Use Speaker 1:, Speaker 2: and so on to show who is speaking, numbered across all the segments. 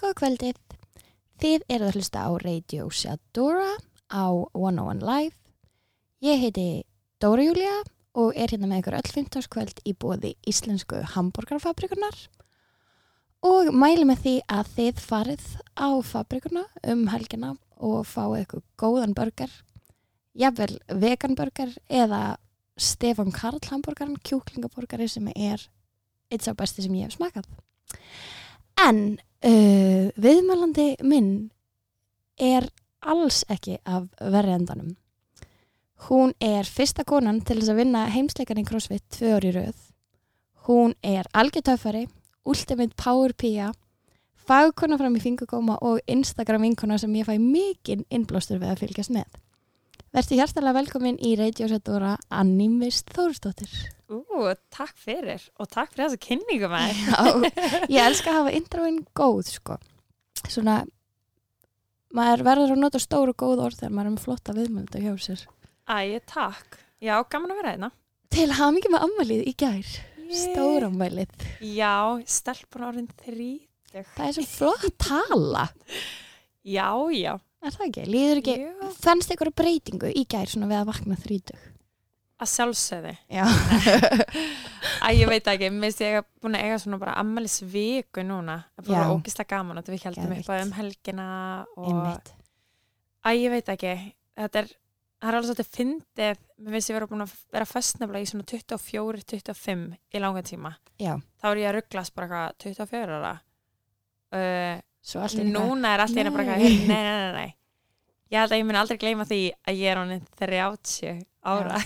Speaker 1: Góða kvöldið. Þið eruð að hlusta á Radio Shadora á 101 Live. Ég heiti Dóra Júlia og er hérna með ykkur öll 15. kvöld í bóði Íslensku Hamburgerfabrikunar og mæli með því að þið farið á fabrikuna um helgina og fáið ykkur góðan burger, jafnvel vegan burger eða Stefan Karl hamburgaran, kjúklingaburgari sem er eitt sá besti sem ég hef smakað. En Uh, viðmælandi minn er alls ekki af verðendanum. Hún er fyrsta konan til þess að vinna heimsleikan í CrossFit tvö ár í röð. Hún er algjörtöfari, ultimate power pía, fagkona fram í fingurgóma og Instagram vinkona sem ég fæ mikinn innblástur við að fylgjast með. Vertu hjartalega velkomin í Radio Settora Annimist Þórsdóttir.
Speaker 2: Ú, takk fyrir og takk fyrir þessa kynningu maður.
Speaker 1: Já, ég elska að hafa introin góð sko. svona maður verður að nota stóru góð orð þegar maður er með flotta viðmjönda hjá sér
Speaker 2: Æ, takk. Já, gaman að vera hérna.
Speaker 1: til hafa mikið með ammælið í gær stóra ammælið,
Speaker 2: Já, stelpun orðin þrítug.
Speaker 1: það er svo flott tala
Speaker 2: Já, já.
Speaker 1: er það ekki, líður ekki
Speaker 2: Jú.
Speaker 1: fannst ykkur breytingu í gær svona við að vakna þrítug
Speaker 2: Að sjálfsögði.
Speaker 1: já,
Speaker 2: Æ, ég veit ekki, minnst ég hef búin að eiga svona bara ammælisviku núna. Það
Speaker 1: Já.
Speaker 2: búin að ógista gaman að við heldum
Speaker 1: Geðveikt.
Speaker 2: eitthvað um helgina og...
Speaker 1: einmitt
Speaker 2: Æ, ég veit ekki. Þetta er, það er alveg svolítið fyndið. Mér finnst ég vera búin að vera festnefla í svona 24-25 í langan tíma.
Speaker 1: já,
Speaker 2: Þá er ég að rugglast bara hvað 24 ára. Uh,
Speaker 1: svo allt er eitthvað
Speaker 2: Núna er allt hérna bara
Speaker 1: Nei.
Speaker 2: eitthvað, "Heyrðu, nei, nei, nei, nei. Ég held að ég mun aldrei gleyma því að ég er honin 30 ára.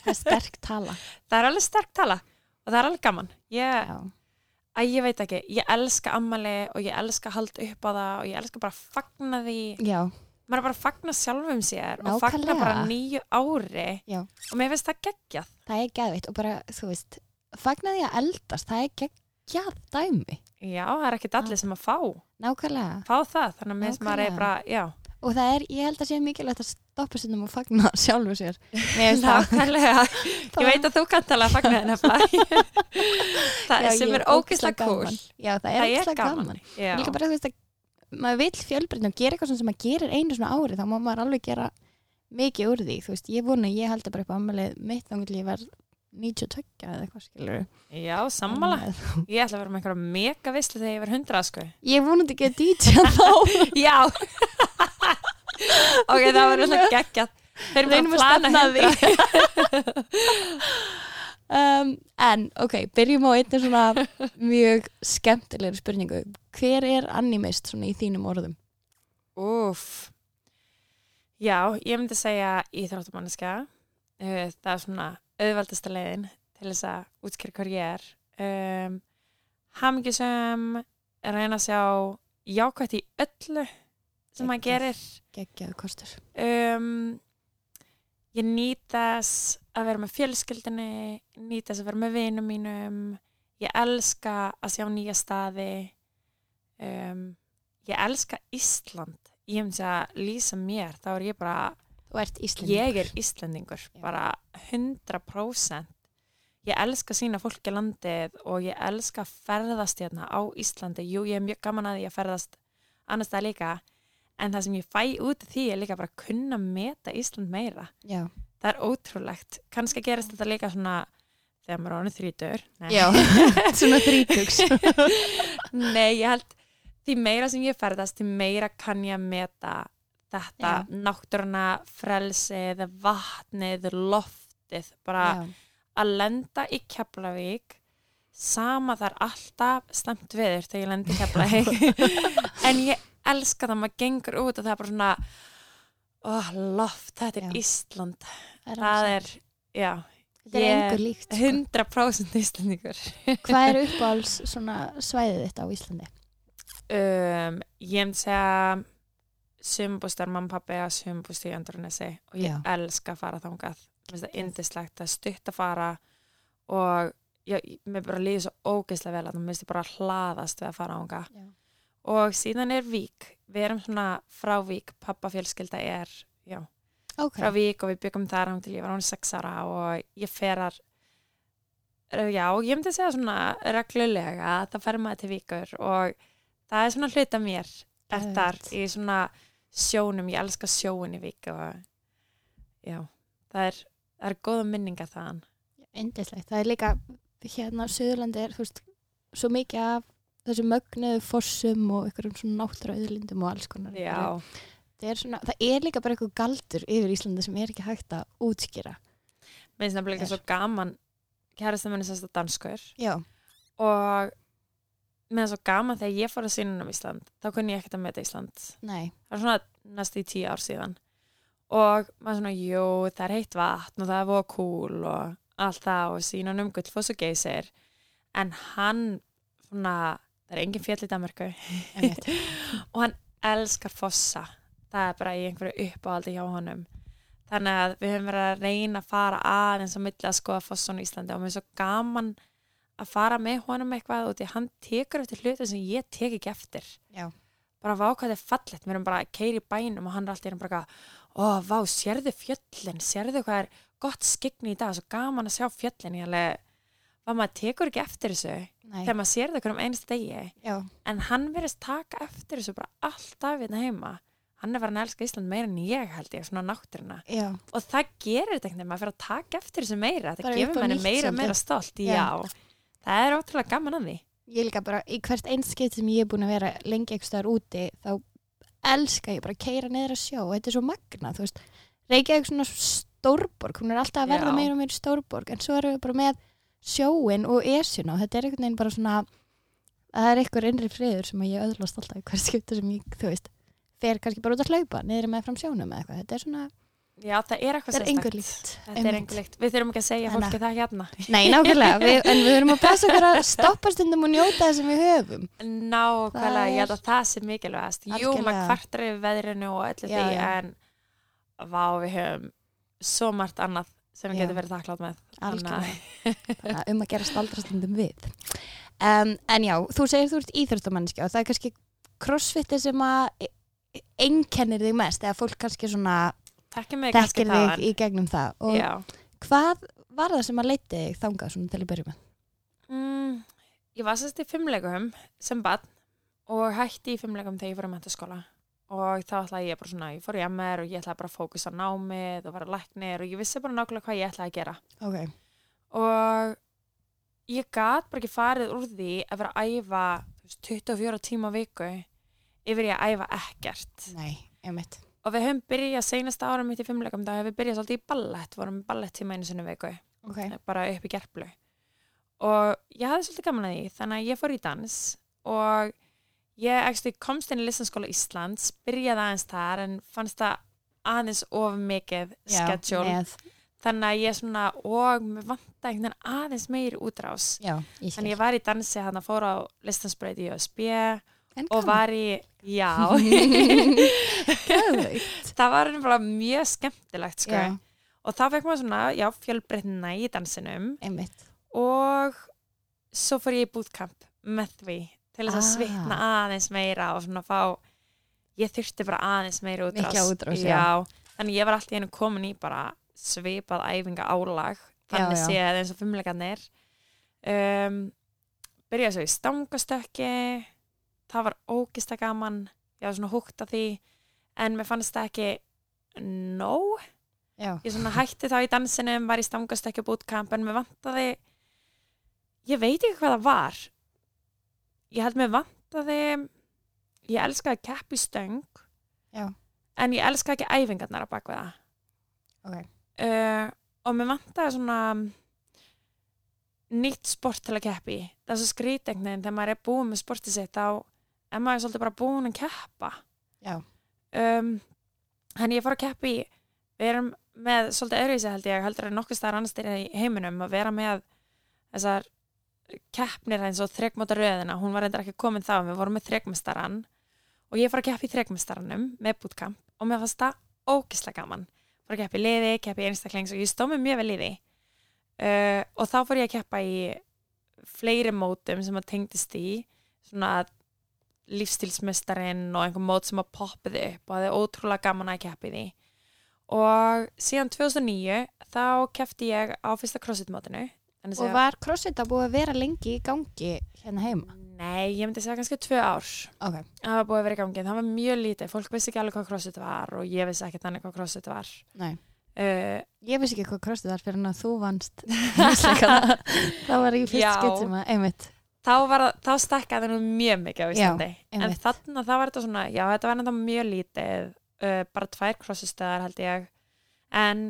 Speaker 1: það er sterk tala
Speaker 2: Það er alveg sterk tala og það er alveg gaman. Ég,
Speaker 1: já,
Speaker 2: að ég veit ekki, ég elska ammali og ég elska að halda upp á það og ég elska bara að fagna því.
Speaker 1: já,
Speaker 2: Maður er bara að fagna sjálfum sér og fagna
Speaker 1: Nákvæmlega.
Speaker 2: bara nýju ári
Speaker 1: Já.
Speaker 2: og mér finnst það geggjað.
Speaker 1: það er geðveitt og bara, þú veist fagnaði að eldast, það er geggjað dæmi,
Speaker 2: Já, það er ekkit allir sem að fá,
Speaker 1: nákvæmlega
Speaker 2: fá það, þannig að mér finnst maður er
Speaker 1: Nákvæmlega.
Speaker 2: bara, já,
Speaker 1: og það er, ég held að sé mikilvægt að stoppa sinnum og fagna sjálfu sér Mér finnst það-
Speaker 2: nákvæmlega.
Speaker 1: það
Speaker 2: Ég veit að þú kannt alveg að fagna þennan flag. það
Speaker 1: Já,
Speaker 2: er sem
Speaker 1: ég
Speaker 2: er ógeðslega
Speaker 1: gaman.
Speaker 2: cool.
Speaker 1: já, það er ógislega gaman, gaman.
Speaker 2: Já.
Speaker 1: líka bara þú veist að maður vill fjölbreytni og gera eitthvað svona sem maður gerir einu svona ári þá má maður alveg gera mikið úr því þú veist, ég vona að ég held bara upp á ammælið mitt þá vil ég verð 92 eða eitthvað skilur
Speaker 2: Já, sammála. Ég ætla að vera með einhverja mega vislu þegar ég verð hundra, sko.
Speaker 1: ég vonandi ekki að DJ þá
Speaker 2: Já. ok, það var alltaf geggjað. Þeir eru
Speaker 1: Reynum að
Speaker 2: bara að plana
Speaker 1: stefna að
Speaker 2: hundra.
Speaker 1: um, en ok, byrjum á einnig svona mjög skemmtilegri spurningu hver er animist svona í þínum orðum?
Speaker 2: Úf. Já, ég myndi segja íþróttamanniska. Uh, Það er svona auðvaldasta leiðin til þess að útskýra hver ég er. Um, Hamingisum, reyna að sjá jákvætt í öllu sem maður
Speaker 1: Geggjað.
Speaker 2: gerir.
Speaker 1: geggjaðu kostur
Speaker 2: um, ég nýt þess að vera með fjölskyldinni nýt þess að vera með vinum mínum ég elska að sjá nýja staði um, ég elska Ísland ég hef að lýsa mér þá er ég bara,
Speaker 1: þú ert íslendingur
Speaker 2: ég er Íslendingur
Speaker 1: Já.
Speaker 2: bara 100% ég elska að sína fólki landið og ég elska að ferðast hérna á Íslandi, jú ég er mjög gaman að ég ferðast annars það líka en það sem ég fæ út af því er líka bara að kunna meta Ísland meira
Speaker 1: Já.
Speaker 2: það er ótrúlegt, kannski gerist þetta líka svona þegar maður ánum þrítur nei.
Speaker 1: Já, svona þrítugs.
Speaker 2: nei, ég held því meira sem ég ferðast, því meira kann ég að meta þetta
Speaker 1: Já.
Speaker 2: náttúruna, frelsið vatnið, loftið bara
Speaker 1: Já,
Speaker 2: að lenda í Keflavík sama þar alltaf stemt viður þegar ég lendi í Keflavík en ég elska það maður gengur út og það er bara svona oh, loft, þetta er
Speaker 1: Já. Sko.
Speaker 2: Ísland
Speaker 1: það er,
Speaker 2: það
Speaker 1: alveg
Speaker 2: er, já,
Speaker 1: satt. Þetta er
Speaker 2: ég-
Speaker 1: engu líkt. Sko.
Speaker 2: 100% Íslandingur
Speaker 1: Hvað er uppáhalds svona svæðið þitt á Íslandi?
Speaker 2: um, ég myndi segja sumbústar mamma pappi að sumbúst í Andranessi og ég
Speaker 1: Já.
Speaker 2: elska að fara þangað Mér finnst það indislegt, það er stutt að fara og ég, mér bara líður svo ógeðslega vel að mér finnst ég bara hlaðast við að fara þangað
Speaker 1: Já.
Speaker 2: og síðan er Vík, við erum svona frá Vík, pappa fjölskylda er já,
Speaker 1: Ok,
Speaker 2: frá Vík og við byggum þar hann til ég var hann sex ára og ég ferar já, ég myndi segja svona reglulega að það fer maður til Víkur og það er svona hluta mér
Speaker 1: Geðveikt.
Speaker 2: eftir í svona sjónum, ég elska sjóin í Vík og já, það er, það er góða minninga þaðan.
Speaker 1: Indislegt, það er líka hérna á Suðurlandi er þú veist svo mikið af þessum mögnuðu fossum og einhverjum svona náttúruauðlindum og alls konar.
Speaker 2: Já,
Speaker 1: Það er, svona, það er líka bara eitthvað galdur yfir Íslandi sem er ekki hægt að útskýra.
Speaker 2: minnst nefnilega
Speaker 1: Er.
Speaker 2: svo gaman kærasta minni sérst að danskur
Speaker 1: Já.
Speaker 2: og með það svo gaman þegar ég fór að sýnum um Ísland þá kunni ég ekkert að meta Ísland
Speaker 1: Nei.
Speaker 2: það er svona næstu í tíu ár síðan og maður svona, jú, það er heitt vatn og það er voða kúl og allt það og sínan um gullfoss og geysir en hann svona, það er engin fjall í Danmarku
Speaker 1: einmitt.
Speaker 2: og hann elskar fossa það er bara í einhverju uppáhaldi hjá honum þannig að við höfum verið að reyna að fara aðeins á milli að skoða fossun í Íslandi og mér er svo gaman að fara með honum eitthvað og því hann tekur eftir hluti sem ég tek ekki eftir
Speaker 1: Já.
Speaker 2: bara vá hvað þetta er fallegt, við erum bara að keira í bænum og hann er alltaf einu bara eitthvað, ó vá, sérðu fjöllin, sérðu hvað er gott skikni í dag, svo gaman að sjá fjöllin ég alveg, vá maður tekur ekki eftir þessu
Speaker 1: Nei.
Speaker 2: þegar maður sér það hverjum einst degi
Speaker 1: Já.
Speaker 2: en hann verðist taka eftir þessu bara alltaf hérna heima hann er verið að elska Ísland meira en ég held ég svona nátturina
Speaker 1: Já.
Speaker 2: og það gerir þetta einhvern veginn, maður fyrir að taka eftir þessu meira það
Speaker 1: Bara upp á
Speaker 2: gefur manni
Speaker 1: nýtt
Speaker 2: meira og meira
Speaker 1: svolítið.
Speaker 2: stolt
Speaker 1: Já.
Speaker 2: já. það er ótrúlega gaman að því
Speaker 1: Ég líka bara í hvert einskitt sem ég er búin að vera lengi eitthvað staðar úti þá elska ég bara að keira neður að sjó og þetta er svo magna, þú veist. Reykjavík er svona stórborg, hún er alltaf að verða
Speaker 2: Já.
Speaker 1: meira og meira stórborg en svo erum við bara með sjóin og esjuna og þetta er einhvern veginn bara svona það er einhver innri friður sem að ég öðlast alltaf í hvert skipta sem ég, þú veist fer kannski bara út að hlaupa, niður með fram sjónum eða eitthvað, þetta er svona,
Speaker 2: já, það er eitthvað
Speaker 1: þetta er engur líkt
Speaker 2: sérstakt. þetta er engu líkt, við þurfum ekki að segja
Speaker 1: Þannig að-
Speaker 2: fólki það hérna
Speaker 1: Nei, nákvæmlega, við, en við erum að passa okkur að stoppa stundum og njóta það sem við höfum
Speaker 2: nákvæmlega,
Speaker 1: Það
Speaker 2: ég held að það sé mikilvægast jú, maður
Speaker 1: Algjörlega.
Speaker 2: kvartar yfir veðrinu og öllu
Speaker 1: Já,
Speaker 2: því
Speaker 1: já.
Speaker 2: en vá, við höfum svo margt annað sem við
Speaker 1: Já.
Speaker 2: getum verið þakklátt með Þannig að-
Speaker 1: Algjörlega, bara um að gera staldrastundum við. Um, en já, þú segir þú ert íþjóðstamanniski og það er kannski crossfitti sem að e, einkennir þig mest eða fólk kannski svona
Speaker 2: þekkir mig kannski
Speaker 1: þekkir
Speaker 2: þaðan.
Speaker 1: þig í gegnum það og
Speaker 2: Já.
Speaker 1: hvað var það sem að leiti þig þangað svona til að byrja með?
Speaker 2: Mm, ég var sérst í fimmleikum sem barn og hætti í fimmleikum þegar ég fór að mentaskóla og þá ætlaði ég bara svona, ég fór í MR og ég ætlaði bara að fókusa á námið og vera læknir og ég vissi bara nákvæmlega hvað ég ætlaði að gera
Speaker 1: Ok,
Speaker 2: og ég gat bara ekki farið úr því að vera að æfa þú veist, 24 tíma á viku yfir ég að æfa ekkert
Speaker 1: nei, einmitt
Speaker 2: og við höfum byrjað senasta ára mitt í fimmleikum þá hefur við byrjað svolítið í ballett, vorum ballett tíma einu sinni í viku
Speaker 1: Ok,
Speaker 2: bara upp í gerplu og ég hafði svolítið gaman að því þannig að ég fór í dans og ég actually, komst inn í listanskóla Íslands byrjaði aðeins þar en fannst það aðeins of mikið
Speaker 1: já,
Speaker 2: schedule
Speaker 1: með,
Speaker 2: þannig að ég svona og mér vantaði einhvern veginn aðeins meiri útrás
Speaker 1: já, ég skil
Speaker 2: þannig að ég var í dansi hann að fór á listansbreyt í ÖSB
Speaker 1: En
Speaker 2: og var í, já
Speaker 1: Gæðveikt
Speaker 2: það var bara mjög skemmtilegt sko.
Speaker 1: Já,
Speaker 2: og þá fekk maður svona, já, fjölbreytna í dansinum
Speaker 1: einmitt
Speaker 2: og svo fór ég í bootcamp með því til þess að
Speaker 1: Ah.
Speaker 2: svitna aðeins meira og svona fá ég þurfti bara aðeins meira útrás
Speaker 1: Mikla útrás, já.
Speaker 2: já, þannig ég var alltaf einu komin í bara svipað æfinga álag þannig
Speaker 1: já.
Speaker 2: séð eins og fimmleikarnir um, byrjaði svo í stangastökki það var ógista gaman ég var svona húgt að því en mér fannst það ekki nóg
Speaker 1: Já,
Speaker 2: ég svona hætti þá í dansinum, var í stangastökkja bootcamp en mér vantaði ég veit ekki hvað það var ég held mér vantaði ég elskaði að keppa í stöng
Speaker 1: Já.
Speaker 2: en ég elskaði ekki æfingarnar á bakveða
Speaker 1: Ok.
Speaker 2: uh, og mér vantaði svona nýtt sport til að keppa í það er svo skrítengnin þegar maður er búin með sportið sitt þá er maður svolítið bara búin að keppa
Speaker 1: já,
Speaker 2: um, hann ég fór að keppa í við erum með svolítið öðruvísi held ég heldur en nokkuð staðar annars styrir í heiminum að vera með þessar keppnir eins og þregmóta röðina hún var reyndar ekki komin þá, við vorum með þregmestaran og ég fór að keppa í þregmestaranum með bootcamp og mér fannst það ógislega gaman fór að keppa í liði, keppa í einstaklings og ég stóð mér mjög vel í því uh, og þá fór ég að keppa í fleiri mótum sem að tengdist í svona að lífstilsmestarinn og einhver mót sem að poppiði upp og það er ótrúlega gaman að keppi því og síðan 2009 þá kefti ég á fyrsta crossfit mótinu Þannig
Speaker 1: Og
Speaker 2: að segja,
Speaker 1: var crossfit að búið að vera lengi í gangi hérna heima?
Speaker 2: nei, ég myndi segja kannski tvö ár.
Speaker 1: Ok,
Speaker 2: Það var búið að vera í gangi, en það var mjög lítið. Fólk vissi ekki alveg hvað crossfit var og ég vissi ekki þannig hvað crossfit var.
Speaker 1: nei.
Speaker 2: Uh,
Speaker 1: Ég vissi ekki hvað crossfit var fyrir en að þú vannst heimsleikana. það var í fyrst
Speaker 2: Já.
Speaker 1: skitt sem að, einmitt.
Speaker 2: þá, var, það- þá stakkaði nú mjög mikið á
Speaker 1: Já,
Speaker 2: Íslandi. en
Speaker 1: einmitt.
Speaker 2: þannig að það var þetta svona, já, þetta var enda mjög lítið, uh, bara tvær krossistöðar held ég. En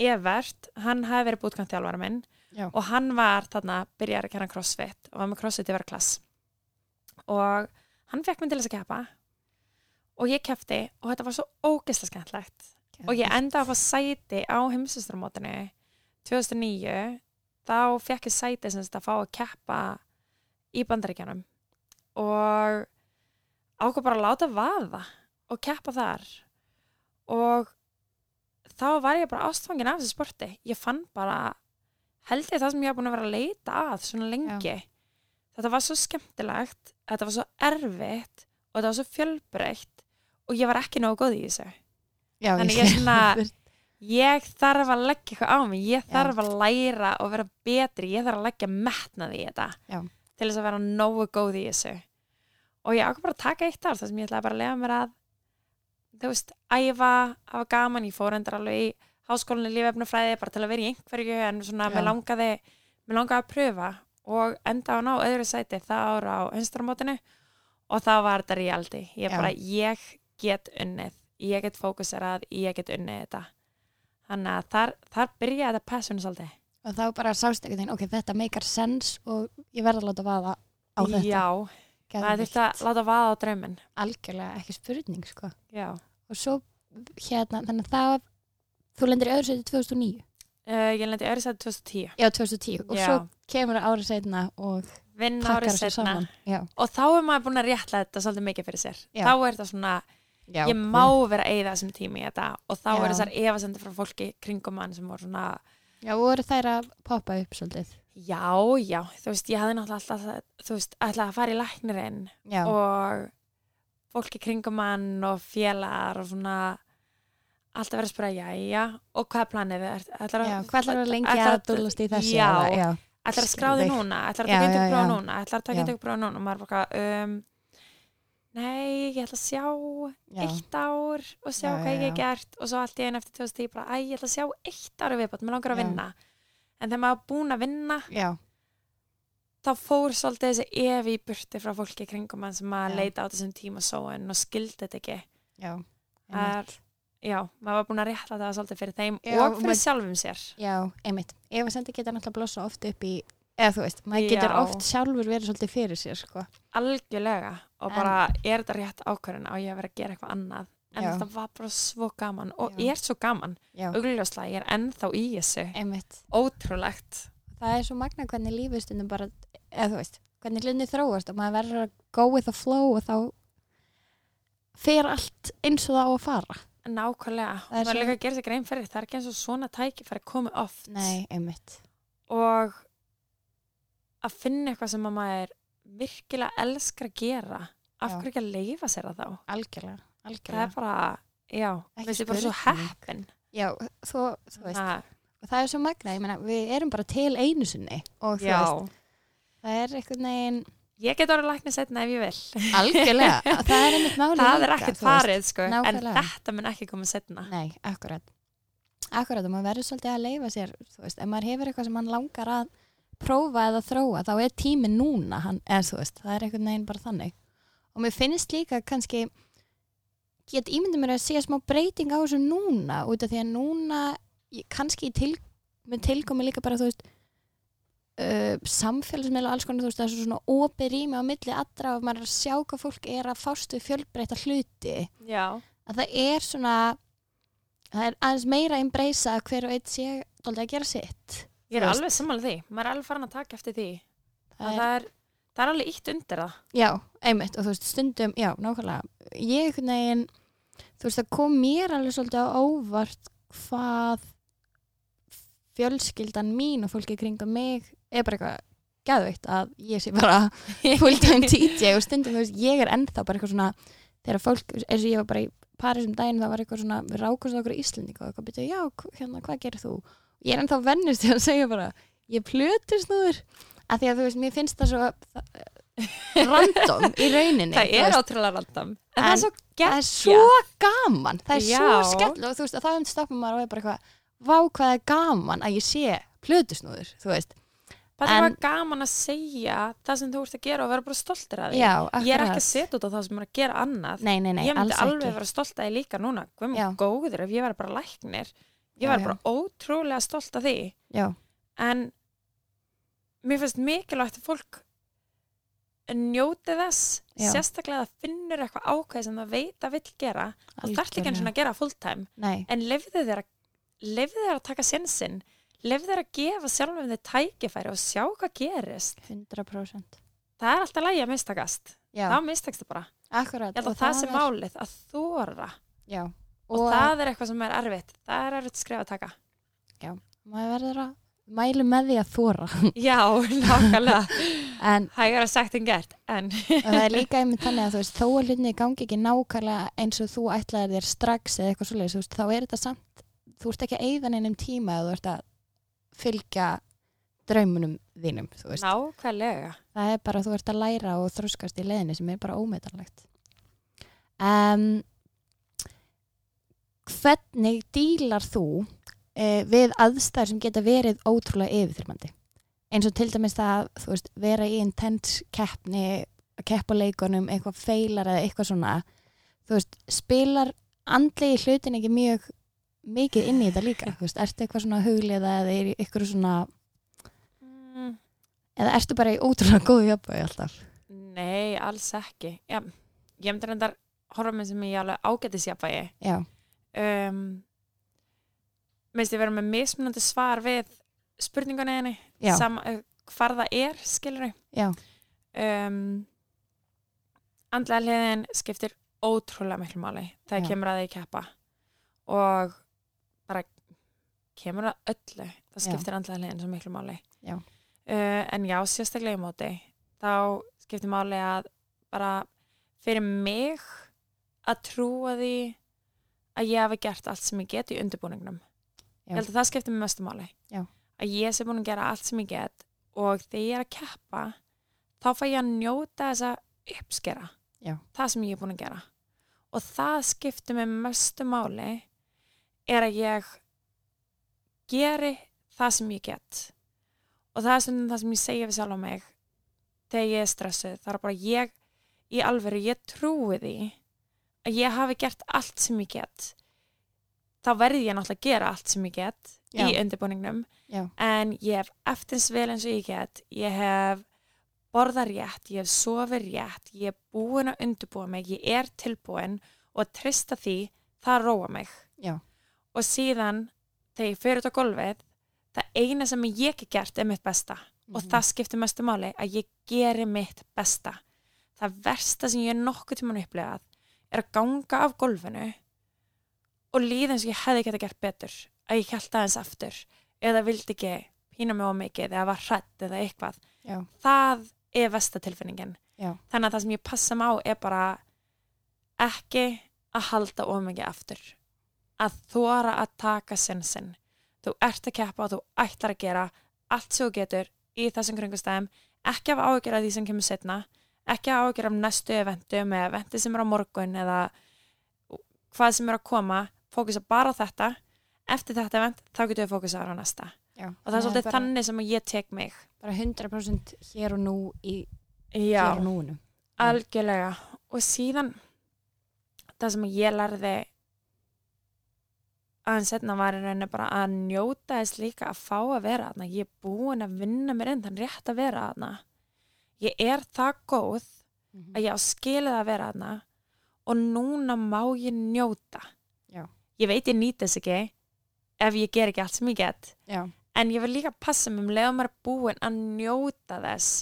Speaker 2: Evert, hann hafi verið bútkant þjálfara minn
Speaker 1: Já.
Speaker 2: og hann var þarna, byrjar að kenna crossfit og var með crossfit yfir klass. Og hann fekk mig til þess að keppa og ég kefti og þetta var svo ógeðslega skemmtlegt og ég endaði að fá sæti á heimsustramótinu 2009 þá fekk ég sæti sem þetta að fá að keppa í bandaríkjanum og ákvað bara að láta vaða og keppa þar og þá var ég bara ástfangin af þessu sporti ég fann bara held ég það sem ég hef búin að vera að leita að svona lengi þetta var svo skemmtilegt þetta var svo erfitt og þetta var svo fjölbreytt og ég var ekki nógu góð í þessu
Speaker 1: Já,
Speaker 2: þannig
Speaker 1: skil.
Speaker 2: ég svona- ég þarf að leggja eitthvað á mig ég þarf að læra og vera betri ég þarf að leggja metnaði í þetta
Speaker 1: Já.
Speaker 2: til þess að vera nógu góð í þessu og ég ákvað bara að taka eitt ár þar sem ég ætlaði bara að lega mér að þú veist, æfa, hafa gaman ég fór endur alveg í háskólinni lífefnafræði bara til að vera í einhverju en svona
Speaker 1: Já.
Speaker 2: mér langaði, mér langaði að pröfa og enda á ná öðru sæti það ára á einstramótinu og þá var þetta reality ég
Speaker 1: Já.
Speaker 2: bara, ég get unnið ég get fókuserað, ég get unnið þetta þannig að þar, þar byrjaði þetta passion svolítið
Speaker 1: Og þá bara sást ekki þeim, ok, þetta meikar sens og ég verð að láta vaða á þetta.
Speaker 2: já, maður þurfti að láta vaða á drauminn
Speaker 1: Algjörlega ekki spurning, sko.
Speaker 2: já,
Speaker 1: Og svo, hérna, þannig að það, þú lendir í öðru sæti 2009.
Speaker 2: uh, ég lendi öðru sæti 2010
Speaker 1: Já, 2010. Og
Speaker 2: Já.
Speaker 1: svo kemur það árið setna og
Speaker 2: vinn
Speaker 1: pakkar
Speaker 2: árið
Speaker 1: þessu
Speaker 2: setna
Speaker 1: saman. Já.
Speaker 2: og þá er maður búin að rétla þetta svolítið mikið fyrir sér
Speaker 1: Já.
Speaker 2: þá er þetta svona,
Speaker 1: Já,
Speaker 2: ég má vera að eyða þessum tími í þetta og þá
Speaker 1: Já.
Speaker 2: eru þessar efasendur frá fólki kringum mann sem voru svona
Speaker 1: Já, voru þær að poppa upp svolítið.
Speaker 2: já, já, þú veist, ég hafði náttúrulega alltaf, þú veist, alltaf að fara í læknirinn
Speaker 1: Já,
Speaker 2: og fólki kringum mann og félagar og svona alltaf verið að spura jæja og hvað er planið er, ætlar,
Speaker 1: já hvað ætlar að lengi
Speaker 2: ætlar
Speaker 1: að dúllast í þessu?
Speaker 2: já,
Speaker 1: eða- já.
Speaker 2: ætlar að skráði
Speaker 1: Skil þig.
Speaker 2: núna ætlar að
Speaker 1: Já,
Speaker 2: taka
Speaker 1: já,
Speaker 2: eintöku
Speaker 1: já.
Speaker 2: prófa núna ætlar að taka
Speaker 1: Já.
Speaker 2: eintöku prófa núna og maður bara um, nei, ég ætla að sjá
Speaker 1: já.
Speaker 2: eitt ár og sjá
Speaker 1: Já,
Speaker 2: hvað
Speaker 1: já,
Speaker 2: ég hef
Speaker 1: já.
Speaker 2: gert og svo allt í einu eftir 2010 bara, æ, ég ætla að sjá eitt ári viðbót, mér langar að
Speaker 1: Já.
Speaker 2: vinna en þegar maður er búin að vinna
Speaker 1: Já,
Speaker 2: þá fór svolítið þessi evi í burti frá fólki í kringum mann sem að
Speaker 1: Já.
Speaker 2: leita á þessum tíma sóun og skildi þetta ekki
Speaker 1: já.
Speaker 2: er,
Speaker 1: einmitt.
Speaker 2: já, maður var búin að rétta það svolítið fyrir þeim
Speaker 1: Já,
Speaker 2: og fyrir
Speaker 1: maður-
Speaker 2: sjálfum sér
Speaker 1: Já, einmitt. Ef að sendi geta náttúrulega blossa oft upp í, eða þú veist, maður getur
Speaker 2: Já.
Speaker 1: oft sjálfur verið svolítið fyrir sér, sko.
Speaker 2: algjörlega og
Speaker 1: En-
Speaker 2: bara er þetta rétt ákvörðin á ég að vera að gera eitthvað annað en
Speaker 1: Já.
Speaker 2: þetta var bara svo gaman og
Speaker 1: Já.
Speaker 2: ég er svo gaman,
Speaker 1: Já,
Speaker 2: augljóslega ég er ennþá í þessu,
Speaker 1: einmitt.
Speaker 2: ótrúlegt
Speaker 1: Það er svo magna hvernig lífið stundum bara, eða þú veist, hvernig hlutinni þróast og maður verður að go with the flow og þá fer allt eins og það á að fara.
Speaker 2: nákvæmlega, og
Speaker 1: Það er
Speaker 2: maður
Speaker 1: svo-
Speaker 2: líka að gera sér grein fyrir það er ekki eins og svona tækifæri komi oft
Speaker 1: Nei, einmitt.
Speaker 2: og að finna eitthvað sem að maður virkilega elskar að gera af
Speaker 1: Já.
Speaker 2: hverju ekki að leifa sér að þá
Speaker 1: Algjörlega,
Speaker 2: það
Speaker 1: algjörlega.
Speaker 2: er bara,
Speaker 1: Ekki
Speaker 2: já, mér finnst ég bara svo
Speaker 1: spurning.
Speaker 2: heppin
Speaker 1: Já, þú, þú veist,
Speaker 2: Ha,
Speaker 1: og það er svo magna, ég meina, við erum bara til einu sinni og þú
Speaker 2: já,
Speaker 1: veist, það er einhvern veginn
Speaker 2: ég get orðið læknir setna ef ég vil
Speaker 1: algjörlega, það er einmitt máli
Speaker 2: það er
Speaker 1: líka,
Speaker 2: ekkert
Speaker 1: þú veist.
Speaker 2: farið sko, en
Speaker 1: nákvæmlega.
Speaker 2: þetta mun ekki koma setna
Speaker 1: Nei, akkurat. Akkurat og maður verður svolítið að leifa sér, þú veist, ef maður hefur eitthvað sem hann langar að prófa eða þróa, þá er tíminn núna, hann, eða þú veist, það er einhvern veginn bara þannig. Og mér finnst líka kannski, get ímyndið mér að sé smá breyting á þessu núna, út af því að núna, ég- kannski í til, með tilkomi líka bara, þú veist, Uh, samfélagsmiðla og alls konar þú veist það er svo svona opið rými á milli allra og maður er að sjá hvað fólk er að fástu fjölbreyta hluti
Speaker 2: já,
Speaker 1: að það er svona það er aðeins meira að embracea að hver og einn sé dálítið að gera sitt
Speaker 2: ég
Speaker 1: Þú
Speaker 2: er
Speaker 1: veist.
Speaker 2: alveg sammála því maður er alveg farin að taka eftir því
Speaker 1: það
Speaker 2: það,
Speaker 1: er,
Speaker 2: það, er, það er alveg ítt undir það
Speaker 1: já, einmitt og þú veist stundum, já, nákvæmlega ég einhvern veginn, þú veist það kom mér alveg svolítið á óvart hvað fjölskyldan mín og fólki kringum mig er bara eitthvað geðveikt að ég sé bara fulltime DJ og stundum, þú veist, ég er ennþá bara eitthvað svona, þegar fólk eins og ég var bara í París um daginn, það var eitthvað svona við rákumst okkur í Íslendingu og eitthvað byrja, já, hv- hérna, hvað gerir þú? Ég er ennþá vennist til að segja bara ég plötur snúður af því að þú veist, mér finnst það svo það- random í rauninni
Speaker 2: það
Speaker 1: þú
Speaker 2: er
Speaker 1: veist,
Speaker 2: átrúlega random. En, það er
Speaker 1: En-
Speaker 2: svo
Speaker 1: það
Speaker 2: gert.
Speaker 1: er svo gaman það er svo
Speaker 2: Já.
Speaker 1: skell og þú veist, og þá hefum stoppum maður og er bara eitthvað vá hvað er gaman að ég sé plötusnúður, þú veist
Speaker 2: Bara það
Speaker 1: en-
Speaker 2: var gaman að segja það sem þú ert að gera og vera bara stoltur af því.
Speaker 1: Já, akkurat.
Speaker 2: Ég er ekki að setja út á það sem er að gera annað.
Speaker 1: Nei, nei, nei,
Speaker 2: ég myndi
Speaker 1: alls
Speaker 2: alveg
Speaker 1: ekki.
Speaker 2: vera stolt af því líka núna. Guð
Speaker 1: Já.
Speaker 2: minn góður ef ég væri bara læknir. Ég
Speaker 1: Já, já.
Speaker 2: væri bara ótrúlega stolt af því.
Speaker 1: Já,
Speaker 2: En mér finnst mikilvægt að fólk njóti þess,
Speaker 1: Já.
Speaker 2: sérstaklega að það finnur eitthvað ákveð sem það veit að vill gera og þarf ekki eins og
Speaker 1: algjörlega.
Speaker 2: að gera full time
Speaker 1: Nei,
Speaker 2: en lefðu þeir, að- leyfðu þeir að taka sénsinn lefðu þeir að gefa sjálfum þeir tækifæri og sjá hvað gerist
Speaker 1: 100%
Speaker 2: það er alltaf lægi að mistakast
Speaker 1: Já,
Speaker 2: þá mistakst það bara,
Speaker 1: akkurat
Speaker 2: ég held
Speaker 1: og
Speaker 2: að það, sem
Speaker 1: er-
Speaker 2: málið að þóra
Speaker 1: Já, og,
Speaker 2: og, það er eitthvað sem er erfitt það er erfitt skref að taka
Speaker 1: maður verður að mælu með því að þóra
Speaker 2: já, nákvæmlega,
Speaker 1: en
Speaker 2: hægur að sagt en gert en
Speaker 1: og það er líka einmitt þannig að þú veist þó að hlutinni gangi ekki nákvæmlega eins og þú ætlaðir þér strax eða eitthvað svoleiðis þú veist, þá er þetta samt, þú ert ekki að eyða neinum tíma eða þú ert að fylgja draumunum þínum þú veist,
Speaker 2: nákvæmlega
Speaker 1: það er bara þú ert að læra og þroskast í leiðinni sem er bara ómetanlegt um, Hvernig dílar þú eh, við aðstæður sem geta verið ótrúlega yfirþyrmandi eins og til dæmis það þú veist, vera í intense keppni að keppa á leikunum, eitthvað feilar eða eitthvað svona þú veist, spilar andlegi hlutin ekki mjög mikið inn í þetta líka þú veist, ertu eitthvað svona hugliða eða er eitthvað svona,
Speaker 2: Mm,
Speaker 1: eða ertu bara í ótrúlega góðu jafnvægi alltaf
Speaker 2: nei, alls ekki já, ég myndi reyndar horfa með sem ég alveg ágætisjafvægi
Speaker 1: Já,
Speaker 2: um, meðst ég vera með mismunandi svar við spurningunni henni
Speaker 1: já,
Speaker 2: sama, uh, hvar það er skilur
Speaker 1: já
Speaker 2: um, andlega hliðin skiptir ótrúlega miklu máli þegar
Speaker 1: Já.
Speaker 2: kemur að því keppa og bara kemur að öllu það
Speaker 1: Já.
Speaker 2: skiptir andlega hliðin svo miklu máli
Speaker 1: Já.
Speaker 2: Uh, en já, sérstaklega í móti þá skiptir máli að bara fyrir mig að trúa því að ég hafi gert allt sem ég get í undirbúningnum
Speaker 1: Já.
Speaker 2: ég held að það skiptir mig mestu máli
Speaker 1: Já.
Speaker 2: að ég sé búin að gera allt sem ég get og þegar ég er að keppa þá fæ ég að njóta þess að uppskera
Speaker 1: Já.
Speaker 2: það sem ég er búin að gera og það skiptir mig mestu máli er að ég geri það sem ég get og það er svona það sem ég segja við sjálf á mig þegar ég er stressuð það er bara ég í alveru ég trúi því að ég hafi gert allt sem ég get þá verði ég náttúrulega að gera allt sem ég get
Speaker 1: Já.
Speaker 2: í undirbúningnum
Speaker 1: Já.
Speaker 2: en ég hef eftirs vel eins og ég get ég hef borðað rétt ég hef sofið rétt, ég hef búin að undirbúa mig, ég er tilbúin og að trista því, það róa mig
Speaker 1: Já.
Speaker 2: og síðan þegar ég fyrir út á golfið það eina sem ég ekki gert er mitt besta og
Speaker 1: Mhm.
Speaker 2: það skiptir mestu máli að ég geri mitt besta það versta sem ég er nokkuð tímann upplegað er að ganga af golfinu og líða eins og ég hefði geta gert betur að ég held aðeins aftur eða vildi ekki pína mig á mikið eða var hrætt eða eitthvað
Speaker 1: Já.
Speaker 2: það er versta tilfinningin
Speaker 1: Já.
Speaker 2: þannig að það sem ég passa mig á er bara ekki að halda of mikið aftur að þóra að taka sensin þú ert að keppa og þú ætlar að gera allt sem þú getur í þessum kringustæðum ekki af ágjöra því sem kemur setna ekki af ágjöra af næstu eventum eða eventi sem er á morgun eða hvað sem er að koma fókusa bara á þetta eftir þetta event þá getur við fókusa á næsta
Speaker 1: Já.
Speaker 2: og það er svolítið
Speaker 1: bara,
Speaker 2: þannig sem ég tek mig
Speaker 1: bara 100% hér og nú í
Speaker 2: Já,
Speaker 1: hér og núinu
Speaker 2: algjörlega og síðan það sem ég lærði aðeins setna var í rauninni bara að njóta þess líka að fá að vera þarna ég er búin að vinna mér inn þann rétt að vera þarna ég er það góð að ég á skilið að vera þarna og núna má ég njóta
Speaker 1: Já.
Speaker 2: ég veit ég nýt þess ekki ef ég ger ekki allt sem ég get
Speaker 1: Já,
Speaker 2: en ég vil líka passa mig um leiða maður er búin að njóta þess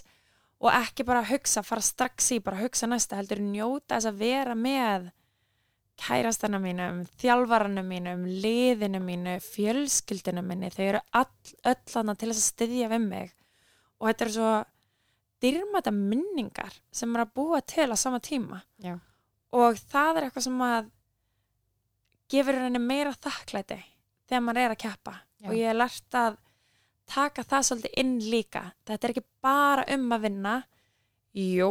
Speaker 2: og ekki bara að hugsa, fara strax í bara að hugsa næsta, heldur njóta þess að vera með kærastana mínum, þjálfarana mínum, liðinu mínu, fjölskyldinu minni, þau eru all, öll hana til þess að styðja við mig og þetta eru svo dyrmata minningar sem er að búa til á sama tíma
Speaker 1: Já.
Speaker 2: og það er eitthvað sem að gefur henni meira þakklæti þegar maður er að keppa
Speaker 1: Já.
Speaker 2: og ég er lært að taka það svolítið inn líka þetta er ekki bara um að vinna jú,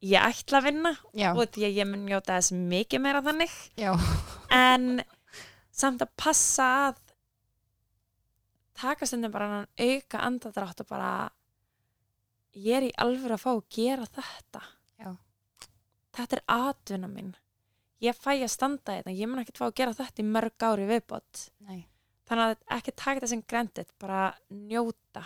Speaker 2: ég ætla að vinna
Speaker 1: Já,
Speaker 2: og því að ég mun njóta þess mikið meira þannig
Speaker 1: já,
Speaker 2: en samt að passa að taka stundum bara annan auka andadrátt og bara ég er í alvöru að fá að gera þetta
Speaker 1: Já.
Speaker 2: þetta er atvinna minn ég fæ að standa þetta, ég mun ekkert fá að gera þetta í mörg ári viðbót
Speaker 1: nei,
Speaker 2: þannig að ekki taka þetta sem grendit bara njóta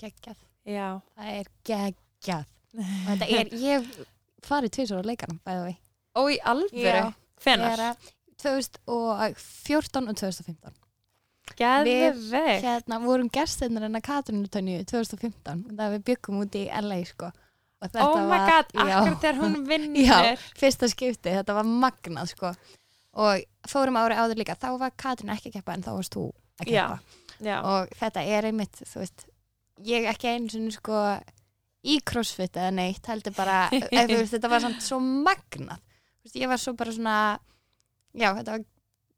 Speaker 1: geggjað.
Speaker 2: já,
Speaker 1: Það er geggjað. Og þetta er, ég hef farið tvisur á leikanum, bæði við.
Speaker 2: og í alvöru hvenar?
Speaker 1: 2014 og 2015.
Speaker 2: geðveg
Speaker 1: Hérna vorum gestinnar en að Katrínutönju 2015. Það við byggum út í LA, sko. Og þetta
Speaker 2: oh my god,
Speaker 1: já.
Speaker 2: akkur þegar hún
Speaker 1: Já,
Speaker 2: vinnir
Speaker 1: fyrsta skipti, þetta var magnað sko og fórum ári áður líka þá var Katrín ekki að keppa en þá varst þú að
Speaker 2: Já,
Speaker 1: keppa
Speaker 2: já.
Speaker 1: og þetta er einmitt, þú veist ég ekki einu sinni sko í crossfit eða neitt, heldur bara ef, þú veist, þetta var samt svo magnað Þú veist, ég var svo bara svona já, þetta var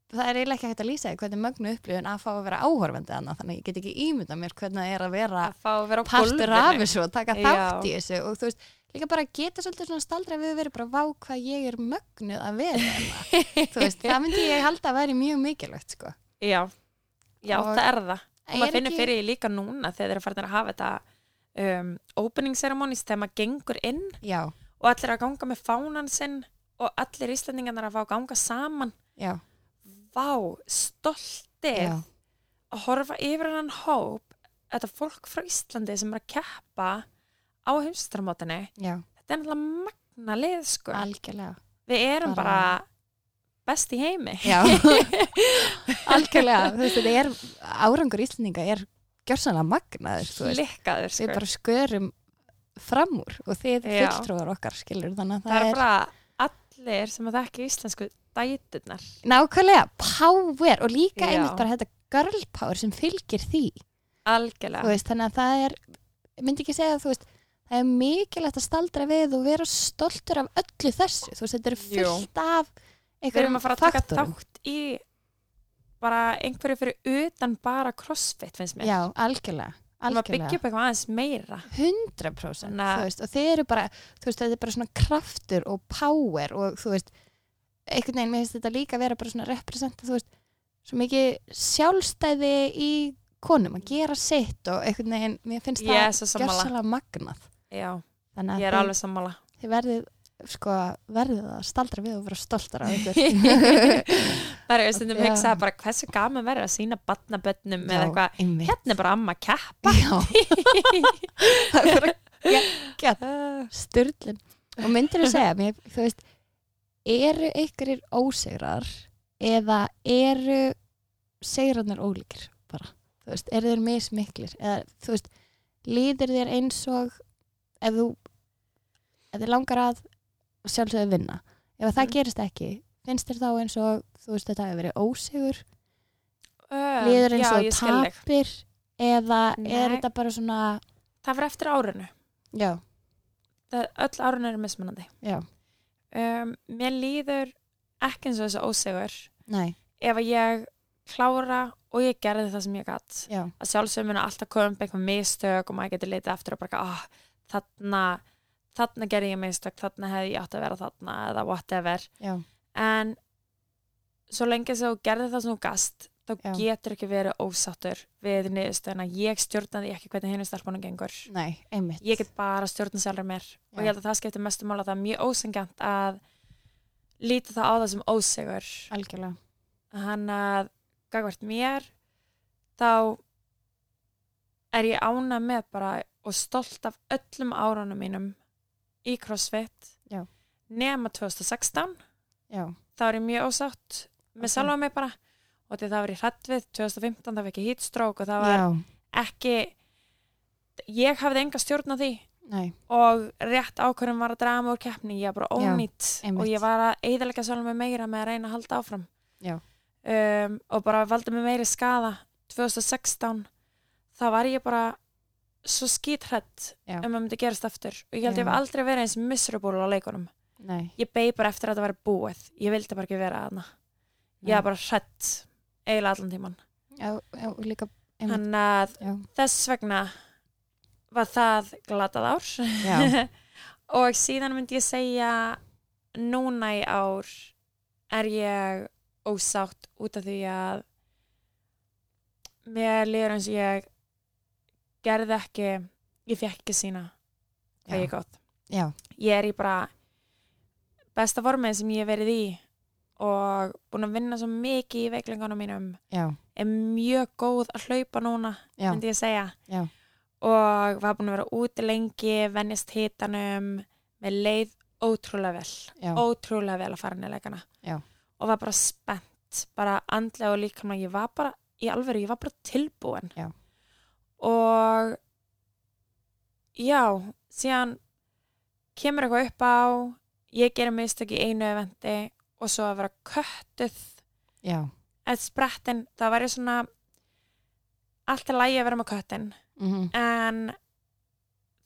Speaker 1: það er eiginlega ekki hægt að lýsa því hvernig mögnu upplifun að fá að vera áhorfandi annað þannig að ég get ekki ímyndað mér hvernig það er að vera
Speaker 2: að fá að vera á
Speaker 1: partur af þessu og taka
Speaker 2: Já.
Speaker 1: þátt í þessu og þú veist, líka bara geta svolítið svona staldra við verið bara vá hvað ég er mögnuð að vera hérna." þú veist, það myndi ég halda að væri mjög mikilvægt sko.
Speaker 2: já, já
Speaker 1: Og-
Speaker 2: það er það og
Speaker 1: Er
Speaker 2: maður finnir
Speaker 1: ekki-
Speaker 2: fyrir því líka núna þegar þeir eru farin að hafa þetta um, opening ceremonies þegar maður gengur inn
Speaker 1: Já,
Speaker 2: og allir að ganga með fánan sinn og allir íslendingarnar að fá að ganga saman
Speaker 1: já,
Speaker 2: vá, stolti
Speaker 1: já,
Speaker 2: að horfa yfir hann hóp þetta fólk frá Íslandi sem er að keppa á heimstramótinni
Speaker 1: já,
Speaker 2: þetta er náttúrulega magna lið sko
Speaker 1: algjörlega
Speaker 2: við erum bara,
Speaker 1: Bara-
Speaker 2: best í heimi
Speaker 1: Já, algjörlega þú veist, þetta er, árangur Íslendinga er gjörsanlega magnaður, þú veist
Speaker 2: klikkaður sko
Speaker 1: við bara skörum fram úr og þið
Speaker 2: Já.
Speaker 1: fulltrúar okkar skilur þannig að
Speaker 2: það, er bara allir sem að þekki íslensku dæturnar
Speaker 1: nákvæmlega power og líka
Speaker 2: Já.
Speaker 1: einmitt bara þetta girl power sem fylgir því þú
Speaker 2: algjörlega
Speaker 1: veist, þannig að það er ég myndi ekki segja að þú veist það er mikilvægt að staldra við og vera stoltur af öllu þessu, þú veist, þetta er
Speaker 2: Jú.
Speaker 1: fullt af
Speaker 2: við erum
Speaker 1: einhverjum
Speaker 2: að fara að taka
Speaker 1: faktorum
Speaker 2: þátt í bara einhverju fyrir utan bara crossfit finnst mér
Speaker 1: já, algjörlega,
Speaker 2: Við erum að byggja
Speaker 1: algjörlega
Speaker 2: upp eitthvað aðeins meira
Speaker 1: 100%
Speaker 2: Þannig að-
Speaker 1: þú veist, og þeir eru bara, þú veist, þetta er bara svona kraftur og power og þú veist einhvern veginn, mér finnst þetta líka vera bara svona representa, þú veist, svo mikið sjálfstæði í konum að gera sitt og einhvern veginn mér finnst
Speaker 2: ég er svo
Speaker 1: það
Speaker 2: sammála
Speaker 1: gjörsalega magnað
Speaker 2: já,
Speaker 1: þannig
Speaker 2: ég
Speaker 1: að
Speaker 2: er
Speaker 1: þið-
Speaker 2: alveg sammála
Speaker 1: þið verðið sko, verðið að staldra við og vera stoltar af ykkur
Speaker 2: það er stundum
Speaker 1: Já.
Speaker 2: hugsað bara hversu gaman verður að sína barnabönnum eða eitthvað,
Speaker 1: einmitt
Speaker 2: hérna er bara amma að keppa
Speaker 1: já, það er bara geggjað styrlun Ah, og myndir þú segja mér, þú veist eru ykkurir ósegrar eða eru segrarnir ólíkir bara, þú veist, eru þeir mismiklir eða þú veist, líður þér eins og ef þú ef þið langar að sjálfsögðu vinna, ef það
Speaker 2: Mhm.
Speaker 1: gerist ekki finnst þér þá eins og þú veist þetta hefur verið ósegur
Speaker 2: Um,
Speaker 1: líður eins
Speaker 2: já,
Speaker 1: og
Speaker 2: ég skil þig.
Speaker 1: tapir eða er
Speaker 2: Nei.
Speaker 1: þetta bara svona
Speaker 2: það fyrir eftir árinu
Speaker 1: já,
Speaker 2: það, öll árun eru mismunandi
Speaker 1: Já.
Speaker 2: um, mér líður ekki eins og þessu ósegur
Speaker 1: nei,
Speaker 2: ef að ég klára og ég gerði það sem ég gatt
Speaker 1: já,
Speaker 2: að sjálfsögum mun alltaf koma upp einhver mistök og maður getur leitið aftur og bara oh, þarna, þarna gerði ég mistök þarna hefði ég átt að vera þarna eða whatever
Speaker 1: já,
Speaker 2: en svo lengi sem þú gerði það sem þú gast þá
Speaker 1: Já.
Speaker 2: getur ekki verið ósattur við niðurstöðuna ég stjórnaði ekki hvernig hinu starfbónum gengur
Speaker 1: nei, einmitt
Speaker 2: ég get bara stjórna sjálfur mér og
Speaker 1: Já.
Speaker 2: ég held að það skiptir mestu mála það er mjög ósengjant að líta það á það sem ósegur
Speaker 1: algjörlega,
Speaker 2: hann að gagvart mér þá er ég ána með bara og stolt af öllum árunum mínum í CrossFit
Speaker 1: Já.
Speaker 2: nema 2016
Speaker 1: já,
Speaker 2: þá er ég mjög ósátt
Speaker 1: Ok.
Speaker 2: með okay. sjálfa mig bara og því það var ég hrætt við 2015 þá fekk ég hýtstrók og það var
Speaker 1: já
Speaker 2: ekki ég hafði enga stjórn á því
Speaker 1: nei,
Speaker 2: og rétt ákvörðum var að draga mig úr keppni ég var bara
Speaker 1: Já,
Speaker 2: ónýtt
Speaker 1: einmitt.
Speaker 2: og ég var að eiðalega sjálfum með meira með að reyna að halda áfram
Speaker 1: Já.
Speaker 2: um, og bara valdi mig meiri skada 2016 þá var ég bara svo skíthrætt
Speaker 1: Já.
Speaker 2: um að myndi gerast aftur og ég held
Speaker 1: Já.
Speaker 2: ég hef aldrei verið eins miserable á leikunum
Speaker 1: nei
Speaker 2: ég beig bara eftir að þetta væri búið ég vildi bara ekki vera að hana ég
Speaker 1: Já.
Speaker 2: var bara hrætt eiginlega allan tíman
Speaker 1: já, já, og líka Einmitt.
Speaker 2: Þannig að
Speaker 1: Já.
Speaker 2: þess vegna var það glatað ár
Speaker 1: Já.
Speaker 2: og síðan myndi ég segja núna í ár er ég ósátt út af því að mér líður eins og ég gerði ekki ég fekk ekki sína
Speaker 1: Já.
Speaker 2: hvað ég gott
Speaker 1: Já.
Speaker 2: ég er í bara besta formið sem ég hef verið í og búin að vinna svo mikið í veiklingunum mínum
Speaker 1: Já.
Speaker 2: er mjög góð að hlaupa núna
Speaker 1: Já.
Speaker 2: myndi ég segja
Speaker 1: Já.
Speaker 2: og var búin að vera úti lengi vennjast hitanum með leið ótrúlega vel
Speaker 1: Já.
Speaker 2: ótrúlega vel að fara nýleikana
Speaker 1: Já.
Speaker 2: og var bara spennt bara andlega og líka ég var bara í alvöru, ég var bara tilbúin
Speaker 1: Já.
Speaker 2: og já, síðan kemur eitthvað upp á ég gerir mistök í einu eventi og svo að vera köttuð
Speaker 1: Já.
Speaker 2: eða sprettin, það væri svona allt er lægi að vera með köttin
Speaker 1: Mhm.
Speaker 2: en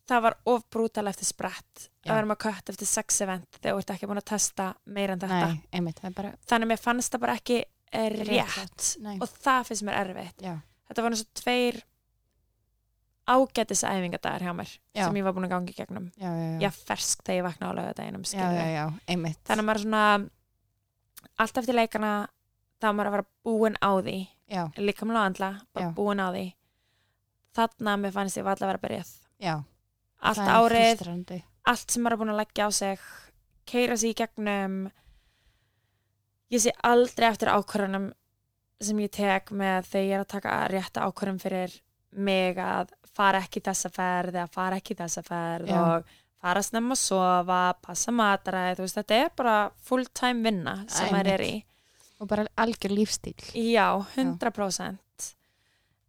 Speaker 2: það var of brútal eftir sprett
Speaker 1: Já.
Speaker 2: að vera með kött eftir sex event þegar þú ert ekki búin að testa meira en þetta
Speaker 1: Nei, einmitt, það er bara
Speaker 2: þannig að mér fannst það bara ekki eh, rétt
Speaker 1: Rétt, nei.
Speaker 2: og það finnst mér erfitt
Speaker 1: Já.
Speaker 2: þetta var eins og tveir ágætis æfingadagar hjá mér
Speaker 1: Já.
Speaker 2: sem ég var búin að gangi gegnum
Speaker 1: Já, já, já.
Speaker 2: ég var fersk þegar ég vakna á lögadeginum
Speaker 1: já, já, já, einmitt.
Speaker 2: þannig að maður svona allt eftir leikana þá á maður að vera búin á því
Speaker 1: Já,
Speaker 2: líkamlega og andla, bara
Speaker 1: Já.
Speaker 2: búin á því þannig að mér fannst ég varla að vera byrjað
Speaker 1: já.
Speaker 2: allt
Speaker 1: það er
Speaker 2: árið,
Speaker 1: frustrandi.
Speaker 2: allt sem maður er búin að leggja á sig keira sig í gegnum ég sé aldrei eftir ákvörunum sem ég tek með þegar ég er að taka rétta ákvörun fyrir mig að fara ekki í þessa ferð eða fara ekki í þessa ferð
Speaker 1: Já.
Speaker 2: og fara snemma að sofa passa mataræði, þú veist, þetta er bara full time vinna sem maður er í
Speaker 1: Og bara algjör lífstíl.
Speaker 2: Já, 100%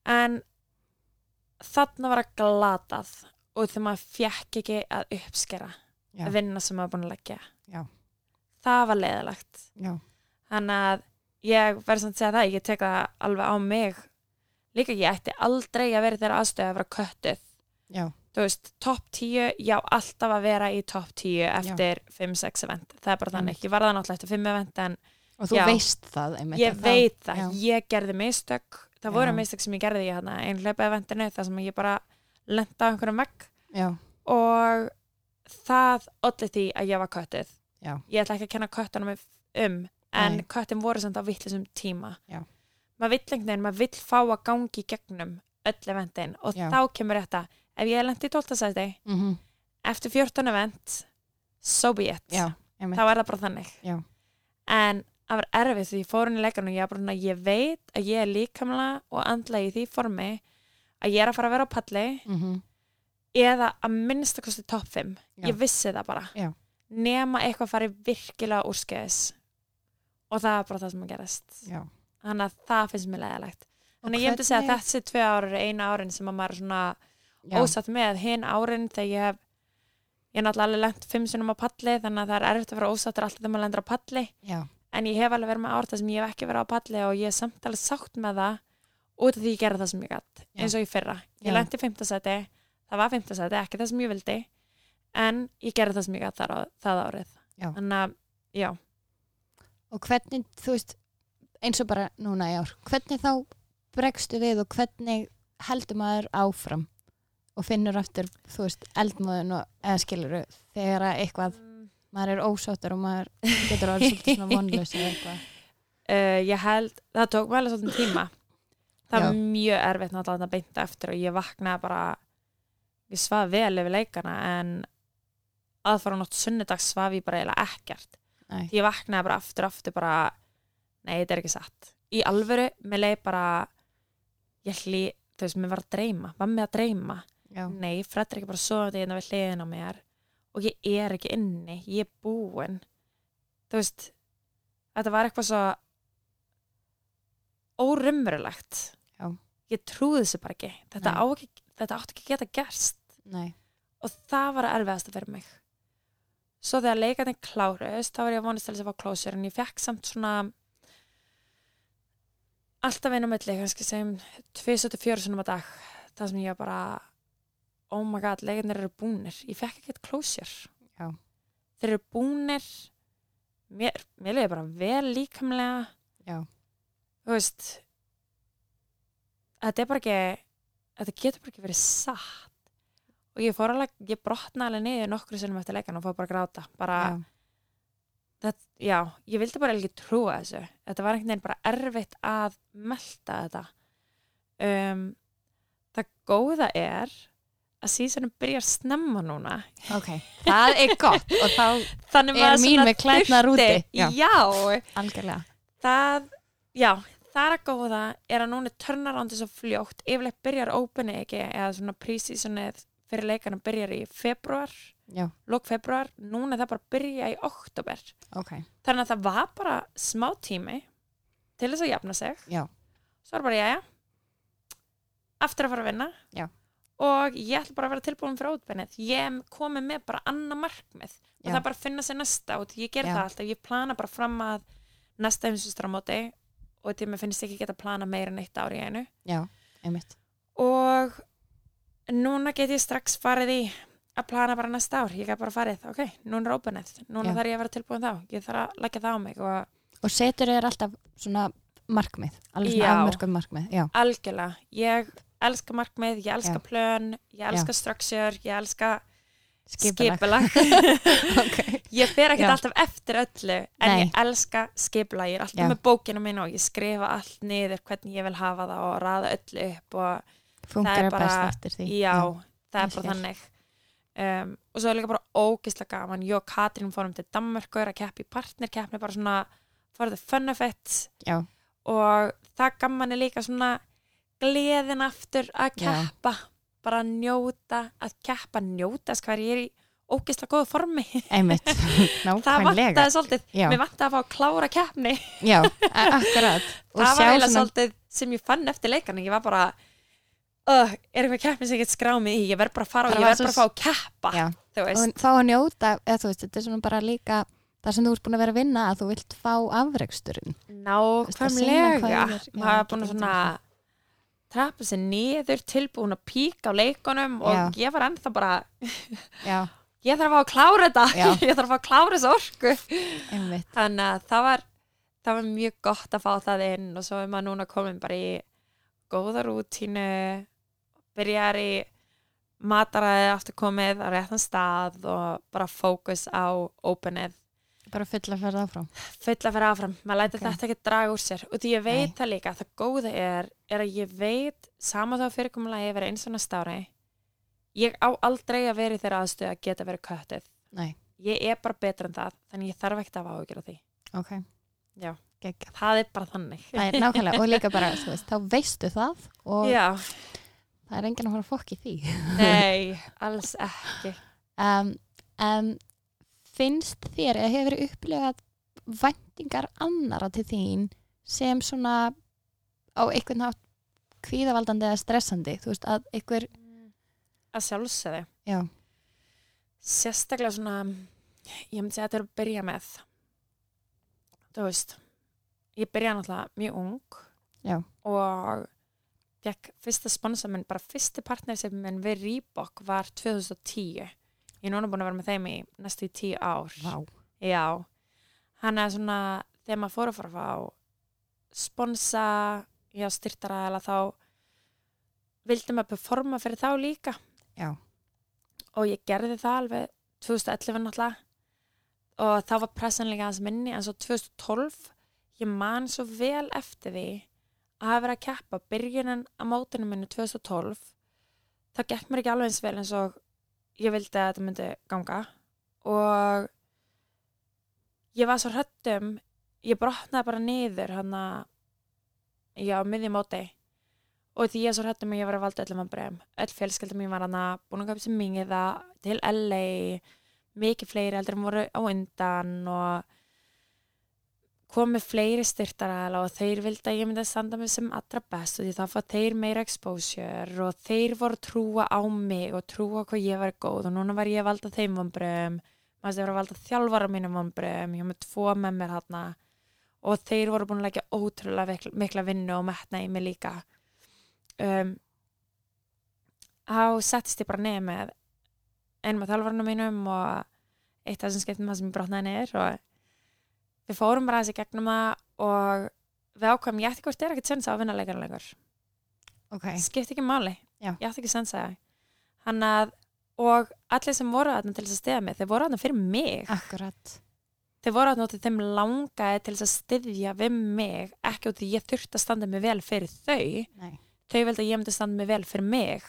Speaker 2: En þarna var að glatað og þegar maður fjekk ekki að uppskera
Speaker 1: Já.
Speaker 2: vinna sem maður búin að leggja
Speaker 1: Já.
Speaker 2: Það var leiðilegt
Speaker 1: Já,
Speaker 2: Þannig að ég verður samt að segja það ég tek það alveg á mig Líka ég ætti aldrei að vera í þeirra aðstöðu að vera köttuð
Speaker 1: já,
Speaker 2: Þú veist, topp 10, já, alltaf að vera í topp 10 eftir 5-6 event Það er bara þannig, ég var það náttúrulega eftir 5 event en
Speaker 1: og þú
Speaker 2: Já.
Speaker 1: veist það einmitt.
Speaker 2: ég
Speaker 1: að
Speaker 2: veit það,
Speaker 1: já.
Speaker 2: ég gerði mistök það
Speaker 1: Já.
Speaker 2: voru mistök sem ég gerði í hérna einn hlaupaðvendinu þar sem ég bara lenda á einhverjum vekk
Speaker 1: Já,
Speaker 2: og það olli því að ég var köttið
Speaker 1: Já.
Speaker 2: ég ætla ekki að kenna köttunum um en
Speaker 1: Nei.
Speaker 2: köttin voru samt á vittlisum tíma
Speaker 1: Já.
Speaker 2: maður vill einhvern veginn, maður vill fá að gangi í gegnum öll eventin og
Speaker 1: Já.
Speaker 2: þá kemur þetta ef ég lendi í 12. sæti
Speaker 1: mhm,
Speaker 2: eftir 14 event so be it
Speaker 1: já, einmitt.
Speaker 2: þá er það bara þannig
Speaker 1: Já.
Speaker 2: en það var erfitt því ég fór inn í leikarinn og ég, var bara, svona, ég veit að ég er líkamlega og andlega í því formi að ég er að fara að vera á palli
Speaker 1: Mhm,
Speaker 2: eða að minnsta kosti topp 5
Speaker 1: Já.
Speaker 2: ég vissi það bara
Speaker 1: Já.
Speaker 2: nema eitthvað fari virkilega úrskeiðis og það er bara það sem að gerast
Speaker 1: já.
Speaker 2: þannig að það finnst mér leðilegt
Speaker 1: Og
Speaker 2: þannig að ég hefndi að segja að
Speaker 1: hvernig-
Speaker 2: þessi tvö árin eina árin sem að maður er svona
Speaker 1: Já,
Speaker 2: ósatt með hinn árin þegar ég hef ég er náttúrulega alveg lent fimm sinnum á palli þannig að það er erfitt að vera ósattur alltaf þegar maður lendur á palli
Speaker 1: já,
Speaker 2: en ég hef alveg verið með ár þar sem ég hef ekki verið á palli og ég er samt alveg sátt með það út af því ég gerði það sem ég gætt
Speaker 1: Já.
Speaker 2: eins og ég fyrra,
Speaker 1: Já.
Speaker 2: ég lendi fymtasæti það var fymtasæti, ekki það sem ég vildi en ég gerði það sem ég gætt þar á, það árið
Speaker 1: Já.
Speaker 2: þannig að, já,
Speaker 1: og hvernig, þú veist, eins og bara núna í ár, hvernig þá bregstu við og hvernig heldur maður áfram og finnur aftur, þú veist, eldmóðun og, eða skiluru, þegar að eitthvað, maður er ósáttur og maður getur orðið svolítið svona vonlaus eða eitthvað.
Speaker 2: uh, ég held það tók mig alveg svolítið tíma það
Speaker 1: Já.
Speaker 2: var mjög erfitt náttúrulega að beinta eftir og ég vaknaði bara ég svaf vel yfir leikana en aðfara nótt sunnudags svaf ég bara eiginlega ekkert
Speaker 1: Nei,
Speaker 2: ég vaknaði bara aftur aftur bara nei, þetta er ekki satt í alvöru, mér leið bara ég hlý, þú veist, mér var að dreyma var mér að dreyma,
Speaker 1: já,
Speaker 2: nei, Fredrik er bara sofandi hérna við hliðin á mér og ég er ekki inni, ég er búin þú veist þetta var eitthvað svo órumverulegt
Speaker 1: Já.
Speaker 2: ég trúði þessu bara ekki þetta,
Speaker 1: Nei.
Speaker 2: á ekki þetta átti ekki að geta gerst
Speaker 1: nei,
Speaker 2: og það var að erfiðast að fyrir mig svo þegar leikarnir kláruðust þá var ég að vonast til þess að fá klósur en ég fekk samt svona alltaf einu milli kannski sem 24 sinum að dag það sem ég var bara oh my god, leikarnir eru búnir ég fekk ekkert klósur
Speaker 1: Já.
Speaker 2: þeir eru búnir mér, mér leiði bara vel líkamlega
Speaker 1: Já.
Speaker 2: þú veist þetta er bara ekki þetta getur bara ekki verið satt og ég fór alveg, ég brotna alveg niður nokkru sinnum eftir leikan og fór bara að gráta bara,
Speaker 1: Já.
Speaker 2: það, já, ég vildi bara ekki trúa þessu þetta var einhvern veginn bara erfitt að melta þetta um, það góða er að sísunum byrjar snemma núna
Speaker 1: Ok, það er gott og þá Er
Speaker 2: þannig maður
Speaker 1: mín
Speaker 2: svona
Speaker 1: með klærnar
Speaker 2: þurfti-
Speaker 1: úti? Já.
Speaker 2: já,
Speaker 1: algjörlega.
Speaker 2: það, já, það er að góða er að núna törnar ándi svo fljótt yfirleitt byrjar open ekki eða svona prísísonið fyrir leikana byrjar í februar,
Speaker 1: Já,
Speaker 2: lók februar núna er það bara að byrja í oktober
Speaker 1: ok.
Speaker 2: þannig að það var bara smá tími til þess að jafna sig
Speaker 1: Já.
Speaker 2: svo er bara jæja aftur að fara að vinna
Speaker 1: Já.
Speaker 2: og ég ætla bara að vera tilbúin fyrir ótbennið ég komi með bara annað markmið og
Speaker 1: Já.
Speaker 2: það er bara að finna sér næsta út ég ger
Speaker 1: Já.
Speaker 2: það alltaf, ég plana bara fram að næsta heimsustramóti og til mér finnst ekki geta að plana meira en eitt ár í einu
Speaker 1: Já, einmitt.
Speaker 2: og núna get ég strax farið í að plana bara næsta ár, ég get bara farið ok, núna er ópenið, núna
Speaker 1: Já.
Speaker 2: þarf ég að vera tilbúin þá ég þarf að leggja það á mig og
Speaker 1: Og setur þér alltaf svona markmið, alveg svona
Speaker 2: Já.
Speaker 1: afmörkum markmið. Já,
Speaker 2: algjörlega, ég elska markmið, ég elska plön ég elska structure, ég elska
Speaker 1: skipulag.
Speaker 2: skipulag
Speaker 1: Ok.
Speaker 2: ég fer ekkert
Speaker 1: Já.
Speaker 2: alltaf eftir öllu en
Speaker 1: Nei.
Speaker 2: ég elska skipulag, ég er alltaf
Speaker 1: Já.
Speaker 2: með bókina mín og ég skrifa allt niður hvernig ég vil hafa það og raða öllu upp og
Speaker 1: Funkar
Speaker 2: bara-
Speaker 1: best eftir því.
Speaker 2: já, það er
Speaker 1: ég
Speaker 2: bara
Speaker 1: skil.
Speaker 2: þannig um, og svo er líka bara ógislega gaman ég og Katrín fórum til Danmörkur að keppa í partnerkeppni bara svona for the fun of it
Speaker 1: Já.
Speaker 2: og það gaman er líka svona gleðin aftur að
Speaker 1: Já.
Speaker 2: keppa bara að njóta að keppa, njóta skvar ég er í ógislega góðu formi
Speaker 1: Einmitt,
Speaker 2: það
Speaker 1: nákvæmlega.
Speaker 2: vantaði svolítið,
Speaker 1: Já.
Speaker 2: mér vantaði að fá að klára keppni
Speaker 1: Já, a- akkurat. Og
Speaker 2: það var
Speaker 1: sjá
Speaker 2: eiginlega
Speaker 1: svona-
Speaker 2: svolítið sem ég fann eftir leikana ég var bara Uh, er eitthvað keppni sem ég get skráð mig í ég verð bara að fara og
Speaker 1: Það
Speaker 2: ég
Speaker 1: var
Speaker 2: verð bara að fá
Speaker 1: svo-
Speaker 2: að keppa
Speaker 1: Já.
Speaker 2: þú veist,
Speaker 1: og fá að njóta, eða þú veist, þetta er svona bara líka það sem þú ert búin að vera að vinna að þú vilt fá afreksturinn. Veist að sýna hvað
Speaker 2: nákvæmlega
Speaker 1: þú er- já,
Speaker 2: maður er búin
Speaker 1: getur
Speaker 2: að svona trappa sér niður tilbúin að píka á leikunum og ég var ennþá bara
Speaker 1: Já,
Speaker 2: ég þarf að fá að klára þetta,
Speaker 1: Já.
Speaker 2: ég þarf að fá að klára þessu orku
Speaker 1: einmitt.
Speaker 2: þannig að það var það var mjög gott að fá það inn og svo er maður núna komin bara í góða rútínu byrjar í mataræði aftur komið á réttan stað og bara fókus á openið
Speaker 1: Bara full að ferða áfram.
Speaker 2: fulla að vera áfram, maður lætur
Speaker 1: Ok.
Speaker 2: þetta ekki draga úr sér og því ég veit
Speaker 1: Nei.
Speaker 2: það líka, það góða er er að ég veit, sama þá fyrirkomulagi að vera eins og næsta ári ég á aldrei að vera í þeirra aðstöð að geta verið köttið,
Speaker 1: Nei,
Speaker 2: ég er bara betur en það þannig ég þarf ekkert að hafa áhyggjur af því
Speaker 1: ok.
Speaker 2: Já.
Speaker 1: Gekka.
Speaker 2: það er bara þannig
Speaker 1: Það er nákvæmlega, og líka bara, þú veist, þá veistu það og
Speaker 2: Já,
Speaker 1: það er enginn að fara að fokki því.
Speaker 2: nei, alls ekki
Speaker 1: Um, en finnst þér eða hefur verið upplegað væntingar annara til þín sem svona á einhvern hátt kvíðavaldandi eða stressandi, þú veist, að einhver
Speaker 2: að sjálfsögðu
Speaker 1: Já.
Speaker 2: sérstaklega svona ég myndi segja að þetta er að byrja með þú veist ég byrjaði náttúrulega mjög ung
Speaker 1: Já.
Speaker 2: og fekk fyrsta sponsa minn, bara fyrsti partner sem minn við Reebok var 2010 ég er núna búin að vera með þeim í næstu í tíu ár Já, hann er svona þegar maður fór að fara að fá sponsa, já styrtaraðala þá vildi maður performa fyrir þá líka
Speaker 1: Já.
Speaker 2: og ég gerði það alveg 2011 náttúrulega og þá var pressan líka aðeins minni en svo 2012 ég man svo vel eftir því að hafa verið að keppa byrjunin að mótinu minni 2012 þá gekk mér ekki alveg eins vel eins og ég vildi að þetta myndi ganga og ég var svo hrættum ég brotnaði bara niður hann að já, miðjum móti og því ég var svo hrættum að ég var að valda öllum að bregum öll fjölskeldum mín var hann að búin að kapsa mingi það til LA mikið fleiri heldur en voru á undan og komið fleiri styrtaraðala og þeir vildi að ég myndi að standa mig sem allra best og því þá fá þeir meira exposure og þeir voru að trúa á mig og trúa hvað ég var góð og núna var ég að valda þeim vombröðum maður þess að vera að valda þjálfara mínum vonbröðum, ég var með tvo með mér þarna og þeir voru búin að leggja ótrúlega mikla, mikla vinnu og metna í mig líka um, þá settist ég bara neð með einum af þjálfarunum mínum og eitt af þessum skiptum það sem ég brotnaði neður og við fórum bara aðeins í gegnum það og við ákvæmum ég ætti hvort er ekkert sens á að vinna leikarna lengur
Speaker 1: ok,
Speaker 2: skipt ekki máli,
Speaker 1: Já.
Speaker 2: ég átti ekki að sensa það hann að, og allir sem voru aðna til þess að stiða mig, þeir voru aðna fyrir mig
Speaker 1: akkurat
Speaker 2: þeir voru aðna út í þeim langaði til þess að stiðja við mig, ekki út í ég þurfti að standa mig vel fyrir þau
Speaker 1: Nei,
Speaker 2: þau veldi að ég myndi standa mig vel fyrir mig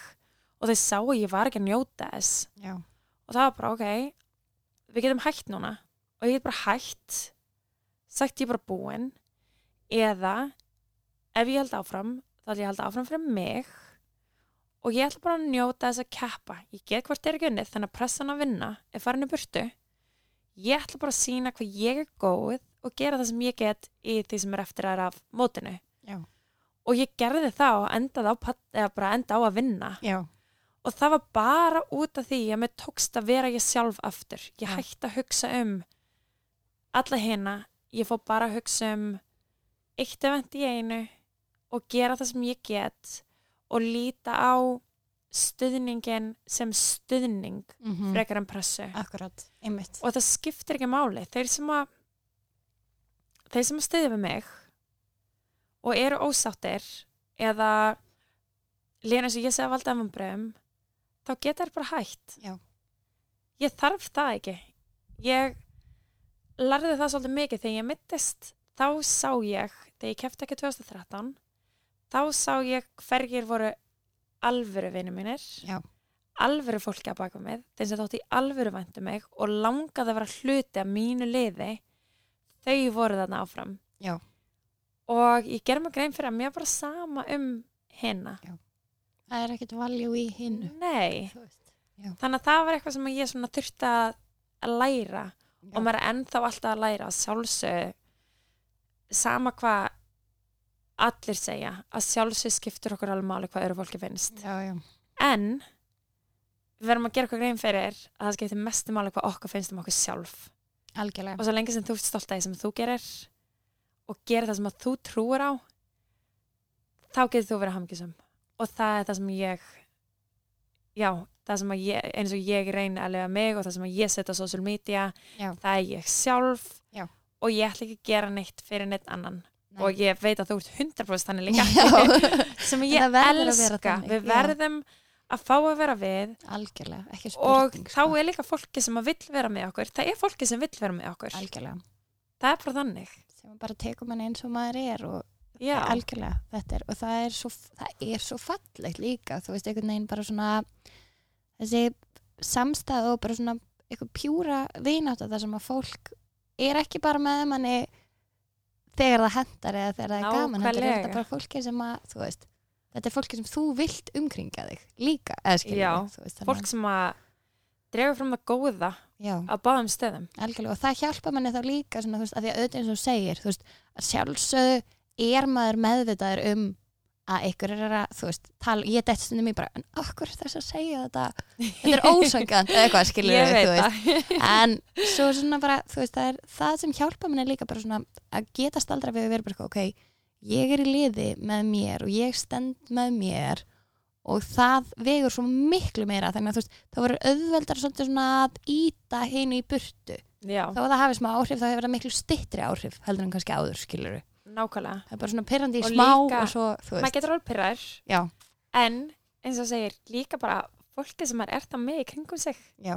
Speaker 2: og þeir sáu að ég var ekki að njóta þess
Speaker 1: já,
Speaker 2: og það var bara, ok við getum hægt núna og ég get bara hægt sagt ég er bara búin eða ef ég held áfram þá ætla ég að halda áfram fyrir mig og ég ætla bara að njóta þess að keppa ég get hvort er ekki unnið þannig að pressan að vinna er farin í burtu ég ætla bara að sína hvað ég er góð og gera það sem ég get í því sem er eftir aðra af mótinu
Speaker 1: já,
Speaker 2: og ég gerði það og endaði á, pall- eða bara enda á að vinna
Speaker 1: já
Speaker 2: og það var bara út af því að mér tókst að vera ég sjálf aftur ég
Speaker 1: Já.
Speaker 2: hætti að hugsa um alla hina, ég fór bara að hugsa um eitt event í einu og gera það sem ég get og líta á stuðningin sem stuðning
Speaker 1: mm
Speaker 2: frekar en pressu
Speaker 1: akkurat, einmitt
Speaker 2: og það skiptir ekki máli þeir sem að þeir sem að stiðja við mig og eru ósáttir eða lína eins og ég segja valda af umbröðum þá geta þær bara hægt
Speaker 1: Já.
Speaker 2: ég þarf það ekki ég lærði það svolítið mikið þegar ég mittist þá sá ég, þegar ég kefti ekki 2013 þá sá ég hverjir voru alvöru vinir mínir
Speaker 1: Já.
Speaker 2: alvöru fólki að baka mig þeim sem þótti í alvöru væntu mig og langaði að vera hluti af mínu liði þau voru þarna áfram
Speaker 1: Já.
Speaker 2: og ég ger mig grein fyrir að mér er bara sama um hérna
Speaker 1: það er ekkert valjú í hinnu
Speaker 2: nei,
Speaker 1: þú veist
Speaker 2: þannig að það var eitthvað sem ég svona þurfti að að læra
Speaker 1: Já.
Speaker 2: og maður er ennþá alltaf að læra að sjálfsög sama hvað allir segja að sjálfsög skiptur okkur alveg máli hvað öru fólki finnst
Speaker 1: já, já,
Speaker 2: en við verðum að gera okkur grein fyrir að það skiptir mestu máli hvað okkur finnst um okkur sjálf
Speaker 1: algjörlega
Speaker 2: og svo lengi sem þú ert stolt af því sem þú gerir og gerir það sem að þú trúir á þá getur þú verið hamgjusum og það er það sem ég já, það sem að ég eins og ég reyni að lifa mig og það sem að ég setja á social media
Speaker 1: Já.
Speaker 2: það er ég sjálf
Speaker 1: Já.
Speaker 2: og ég ætla ekki að gera neitt fyrir neitt annan
Speaker 1: Nei.
Speaker 2: og ég veit að þú ert 100% þannig líka
Speaker 1: Já,
Speaker 2: sem
Speaker 1: En
Speaker 2: ég
Speaker 1: það verður að vera
Speaker 2: elska
Speaker 1: þannig,
Speaker 2: við
Speaker 1: já.
Speaker 2: verðum að fá að vera við
Speaker 1: algjörlega, ekki
Speaker 2: og
Speaker 1: spurning sko.
Speaker 2: þá er líka fólki sem að vill vera með okkur það er fólki sem vill vera með okkur
Speaker 1: algjörlega,
Speaker 2: það er bara þannig
Speaker 1: sem að bara tekum hann eins og maður er og
Speaker 2: Já,
Speaker 1: algjörlega, þetta er og það er svo, það er svo fallegt líka þú veist, einhvern veginn bara svona þessi samstæð og bara svona einhver pjúra vinátt þar sem að fólk er ekki bara með manni þegar það hendar eða þegar það er gaman heldur er
Speaker 2: Nákvæmlega.
Speaker 1: þetta bara fólki sem að, þú veist þetta er fólki sem þú vilt umkringa þig líka, eða skilja
Speaker 2: Já,
Speaker 1: þú veist, þannig
Speaker 2: fólk sem að dregur fram það góða
Speaker 1: að- já,
Speaker 2: á báðum stöðum
Speaker 1: algjörlega og það hjálpa manni þá líka svona, þú veist, að því að auðvitað eins og þú segir þú veist, að sjálfsögðu er maður meðvitaður um að ykkur er að, þú veist, tala, ég dætt stundum í bara, en okkur er þess að segja þetta þetta er ósangjönd, eða eitthvað skilur
Speaker 2: Ég veit
Speaker 1: þú veist,
Speaker 2: það
Speaker 1: en svo svona bara, þú veist, það er það sem hjálpa manni líka bara svona að geta staldra við að vera bara, eitthvað, ok, ég er í liði með mér og ég stend með mér og það vegur svo miklu meira þannig að þú veist, þá verður auðveldar svolítið svona að íta hinu í burtu
Speaker 2: Já,
Speaker 1: þá að það hafi smá áhrif þá hefur það miklu styttri áhrif heldur en kannski áður skiluru
Speaker 2: nákvæmlega
Speaker 1: það er bara svona pyrrandi í
Speaker 2: Og
Speaker 1: smá
Speaker 2: líka-
Speaker 1: og svo þú
Speaker 2: Maður
Speaker 1: veist,
Speaker 2: getur alveg pyrrar
Speaker 1: já,
Speaker 2: en eins og þú segir líka bara fólki sem maður er það með í kringum sig
Speaker 1: já,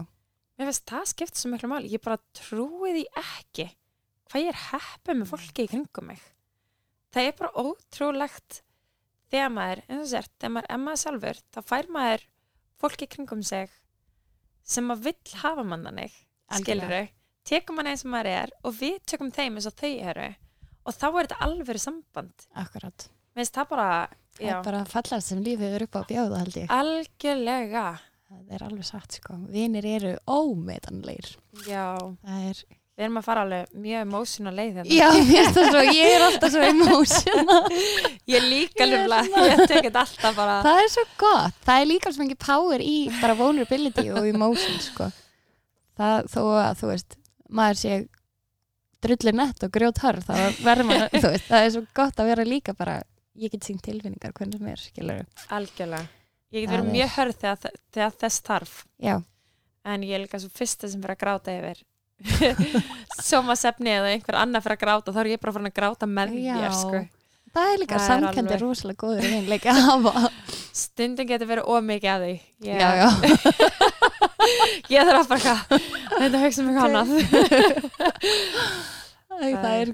Speaker 2: Mér finnst það skipt svo miklu máli Ég bara trúi því ekki hvað ég er heppið með fólki í kringum mig Það er bara ótrúlegt þegar maður, eins og sér þegar maður er maður sjálfur, þá fær maður fólki í kringum sig sem að vill hafa mann þannig
Speaker 1: Algjörlega.
Speaker 2: skiluru, tekum hann eins og maður er og við tökum þeim eins og þau eru og þá er þetta alvöru samband
Speaker 1: akkurat
Speaker 2: Mér finnst það bara,
Speaker 1: það
Speaker 2: já,
Speaker 1: er bara fallast sem lífið er upp á að bjóða held ég
Speaker 2: algjörlega
Speaker 1: það er alveg satt sko, vinir eru ómetanleir
Speaker 2: Já,
Speaker 1: það er,
Speaker 2: við erum að fara alveg mjög emotional leið hérna.
Speaker 1: já, mér finnst það svo ég er alltaf svo emotional
Speaker 2: Ég
Speaker 1: Ég
Speaker 2: líka
Speaker 1: er
Speaker 2: ljumlega, ég tek þetta alltaf bara
Speaker 1: það er svo gott, það er líka svo mikið power í bara vulnerability og emotion sko, það þó að þú veist, maður sé drullir nett og grjót hörð þá verður maður, þú veist, það er svo gott að vera líka bara, ég get sín tilfinningar hvernig sem er, skilur
Speaker 2: algjörlega. Ég get
Speaker 1: Það
Speaker 2: verið
Speaker 1: er-
Speaker 2: mjög hörð þegar, þe- þegar þess þarf
Speaker 1: já,
Speaker 2: en ég er líka svo fyrsta sem fyrir að gráta yfir sjómasefni eða einhver annar fyrir að gráta þá er ég bara farin að gráta með
Speaker 1: Já.
Speaker 2: mér sko.
Speaker 1: það er líka
Speaker 2: Það er
Speaker 1: samkendi
Speaker 2: alveg-
Speaker 1: rosalega góður einleika að hafa
Speaker 2: stundum getur verið ómikið að því ég,
Speaker 1: já, já.
Speaker 2: ég þarf að bara eitthvað þetta hugsa mig
Speaker 1: Ok.
Speaker 2: hvað annað
Speaker 1: Æ,
Speaker 2: Það
Speaker 1: það er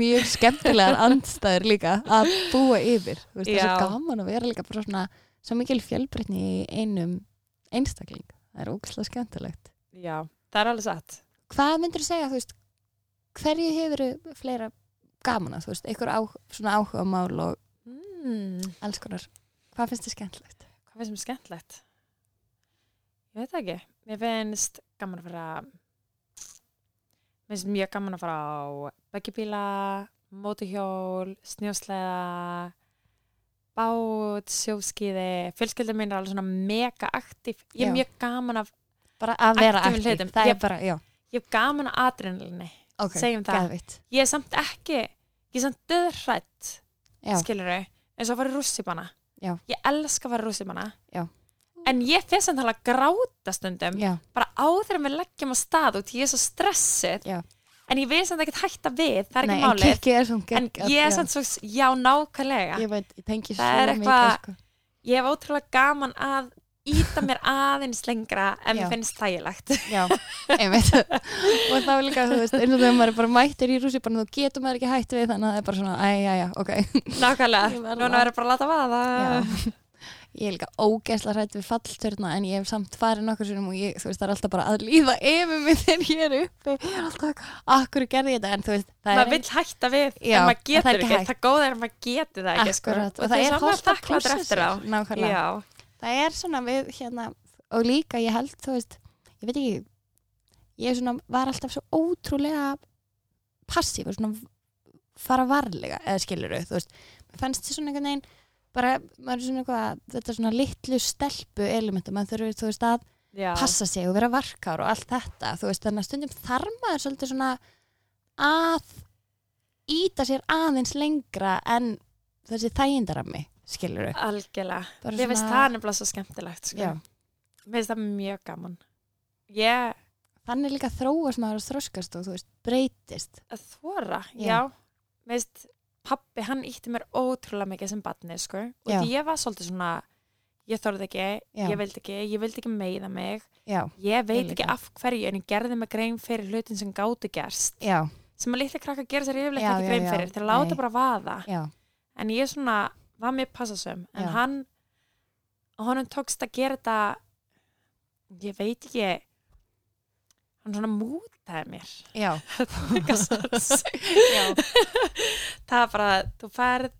Speaker 1: mjög skemmtilegar andstæður líka að búa yfir Þú veist, það er
Speaker 2: Já.
Speaker 1: svo gaman að vera líka bara svona svo mikil fjölbreytni í einum einstakling, það er ógæslega skemmtilegt
Speaker 2: já, það er alveg satt
Speaker 1: hvað myndir þú segja, þú veist hverju hefur fleira gaman að, þú veist, einhver á, svona áhuga mál og
Speaker 2: mm.
Speaker 1: alls konar hvað finnst þið skemmtilegt?
Speaker 2: hvað finnst mér skemmtlegt? Ég veit það ekki. Mér finnst gaman að fara mér finnst mjög gaman að fara á beggjubíla, mótuhjól, snjósleða, bát, sjóskíði. Fjölskyldum mín er alveg svona mega aktíf. Ég
Speaker 1: Já.
Speaker 2: er mjög gaman af,
Speaker 1: bara að vera
Speaker 2: Aktífum
Speaker 1: aktív,
Speaker 2: hlutum.
Speaker 1: það
Speaker 2: Ég-
Speaker 1: er bara, já
Speaker 2: ég er gaman af adrenalinni.
Speaker 1: ok,
Speaker 2: Segjum það.
Speaker 1: geðveikt.
Speaker 2: Ég er samt ekki, ég er samt döðrætt,
Speaker 1: Já.
Speaker 2: skilur þau, eins og að fara í rússipanna.
Speaker 1: Já.
Speaker 2: Ég elska að fara í rússipanna.
Speaker 1: Já.
Speaker 2: En ég fyrir samt alveg að gráta stundum
Speaker 1: já,
Speaker 2: bara áður en við leggjum á stað út ég er svo stressuð
Speaker 1: Já.
Speaker 2: en ég vil samt ekkert hætta við, það er
Speaker 1: Nei,
Speaker 2: ekki
Speaker 1: en
Speaker 2: málið
Speaker 1: kikki er svona
Speaker 2: en
Speaker 1: geggjað,
Speaker 2: ég er
Speaker 1: já.
Speaker 2: samt svo, já nákvæmlega ég,
Speaker 1: ég veit, ég tengi svo
Speaker 2: Það er
Speaker 1: mikið
Speaker 2: eitthvað-
Speaker 1: sko.
Speaker 2: hef ótrúlega gaman að íta mér aðeins lengra en
Speaker 1: Já.
Speaker 2: mér finnst þægilegt
Speaker 1: Já, einmitt og þá er líka, þú veist, eins og þegar maður er bara mættir í rúsi, bara þú getur maður ekki hætt við þannig að það er bara svona, æ, já, já, ok
Speaker 2: nákvæmlega,
Speaker 1: Ég verð
Speaker 2: núna
Speaker 1: að-
Speaker 2: verður bara að láta vaða
Speaker 1: já. Ég er líka ógeðslega hrætt við fallturna en ég hef samt farið nokkur sinum og ég, þú veist, það er alltaf bara að líða yfir mig þegar ég er uppi ég er alltaf, akkur gerði ég þetta en þú veist, það
Speaker 2: maður
Speaker 1: er
Speaker 2: vill hætta við
Speaker 1: Já,
Speaker 2: en maður
Speaker 1: en það er
Speaker 2: getur
Speaker 1: ekki
Speaker 2: ekki,
Speaker 1: hægt.
Speaker 2: það góða er að maður getur það ekki sko.
Speaker 1: akkurat og
Speaker 2: því
Speaker 1: það er
Speaker 2: svo maður
Speaker 1: hótt að
Speaker 2: þakklátur
Speaker 1: pússa
Speaker 2: eftir á.
Speaker 1: sér nákvæmlega
Speaker 2: já,
Speaker 1: það er svona við hérna og líka ég held þú veist ég veit ekki ég svona var alltaf svo ótrúlega passíf og svona fara varlega eða skilur þú veist mér fannst þið svona einhvern veginn bara maður er svona eitthvað þetta svona litlu stelpu elementu maður þurfur þú veist að
Speaker 2: já,
Speaker 1: passa sig og vera varkár og allt þetta þú veist þannig að stundum þarf maður svolítið svona að íta sér aðeins lengra en þessi þægindarami skilur
Speaker 2: algjörlega
Speaker 1: Bara
Speaker 2: mér finnst
Speaker 1: svona-
Speaker 2: það nefnilega svo skemmtilegt sko.
Speaker 1: já
Speaker 2: mér finnst það mjög gaman ég
Speaker 1: þannig líka þróast maður og þroskast og þú veist, breytist
Speaker 2: að þóra,
Speaker 1: Já.
Speaker 2: já, veist pappi, hann ítti mér ótrúlega mikið sem batni, sko, og
Speaker 1: Já.
Speaker 2: því ég var svolítið svona ég þorði ekki,
Speaker 1: Já.
Speaker 2: ég vildi ekki ég vildi ekki meiða mig,
Speaker 1: já,
Speaker 2: ég veit
Speaker 1: Ég líka.
Speaker 2: ekki af hverju, en ég gerði mig grein fyrir hlutin sem gátu gerst,
Speaker 1: já,
Speaker 2: sem að litli krakka gera sér yfirleitt
Speaker 1: Já, já,
Speaker 2: ekki grein
Speaker 1: já.
Speaker 2: fyrir, þeir láta
Speaker 1: Nei.
Speaker 2: bara vaða
Speaker 1: já,
Speaker 2: en ég svona, var mér passasum en
Speaker 1: Já.
Speaker 2: hann honum tókst að gera þetta ég veit ekki hann svona mútaði mér
Speaker 1: já,
Speaker 2: Gassans. það er bara þú færð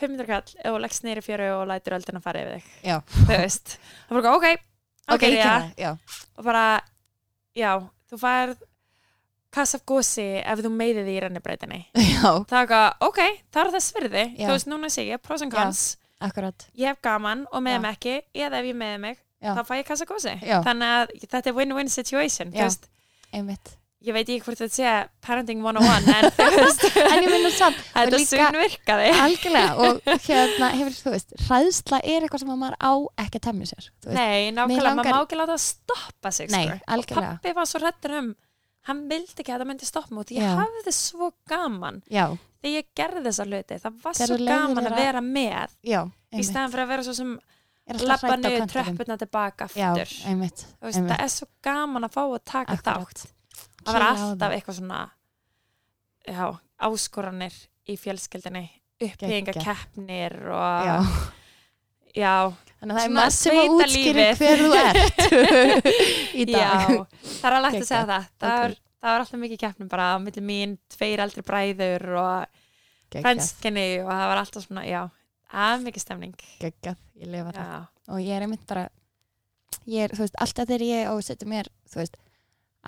Speaker 2: 500 kall og leggst neyri fjöru og lætur öldina fara yfir þig
Speaker 1: Já.
Speaker 2: þú veist, það er bara ok ok,
Speaker 1: ok, ég
Speaker 2: já,
Speaker 1: kemur já,
Speaker 2: og bara já, þú færð kassa af gósi ef þú meiðið í rennibreytinni
Speaker 1: já,
Speaker 2: það er eitthvað, ok, það er þess virði
Speaker 1: Já.
Speaker 2: þú veist, núna sé ég, pros and
Speaker 1: Já.
Speaker 2: cons
Speaker 1: akkurat
Speaker 2: ég hef gaman og
Speaker 1: Já.
Speaker 2: meðum ekki eða ef ég meði mig,
Speaker 1: Já.
Speaker 2: þá fæ ég kassa af gósi
Speaker 1: Já.
Speaker 2: þannig að þetta er win-win situation
Speaker 1: Já.
Speaker 2: þú veist,
Speaker 1: einmitt,
Speaker 2: ég veit ekki hvort þetta sé parenting 101 en þú veist
Speaker 1: en ég minna samt og
Speaker 2: þetta
Speaker 1: líka-
Speaker 2: sunn virkaði
Speaker 1: algjörlega og hérna hefur þú veist, hræðsla er eitthvað sem að maður á ekki að temja sér þú veist,
Speaker 2: nei, nákvæmlega,
Speaker 1: langar-
Speaker 2: maður má ekki láta það stoppa sig
Speaker 1: Nei,
Speaker 2: sko. og
Speaker 1: algjörlega.
Speaker 2: pappi var svo rettur um hann vildi ekki að það myndi stoppa mig og ég
Speaker 1: Já.
Speaker 2: hafði svo gaman
Speaker 1: já,
Speaker 2: þegar ég gerði þessa hluti, það var
Speaker 1: Þegar
Speaker 2: svo
Speaker 1: þú leyfir
Speaker 2: gaman
Speaker 1: þér
Speaker 2: að
Speaker 1: að-
Speaker 2: vera með
Speaker 1: já,
Speaker 2: í
Speaker 1: einmitt
Speaker 2: staðan fyrir að vera svo sem
Speaker 1: Er alltaf
Speaker 2: labba
Speaker 1: hrædd á
Speaker 2: niður
Speaker 1: kantinum.
Speaker 2: tröppuna tilbaka
Speaker 1: já,
Speaker 2: aftur
Speaker 1: einmitt,
Speaker 2: Þú veist, það er svo gaman að fá að taka
Speaker 1: Akkurat.
Speaker 2: þátt það var
Speaker 1: Kýla á
Speaker 2: alltaf
Speaker 1: það.
Speaker 2: eitthvað svona já, áskoranir í fjölskeldinni uppbygginga keppnir og
Speaker 1: já,
Speaker 2: já
Speaker 1: þannig að það er
Speaker 2: Svona
Speaker 1: maður sem að útskýri
Speaker 2: sveitalífið.
Speaker 1: hver þú ert í dag
Speaker 2: Já, það er alveg hægt að segja það. Það
Speaker 1: Ok.
Speaker 2: var, það var alltaf mikið keppnum bara á milli mín, tveir eldri bræður og
Speaker 1: geggjað,
Speaker 2: franskinni og það var alltaf svona, já, það er mikið stemning.
Speaker 1: geggjað, ég lifa það
Speaker 2: Já,
Speaker 1: og ég er einmitt bara ég er, þú veist, alltaf þegar ég á að setja mér þú veist,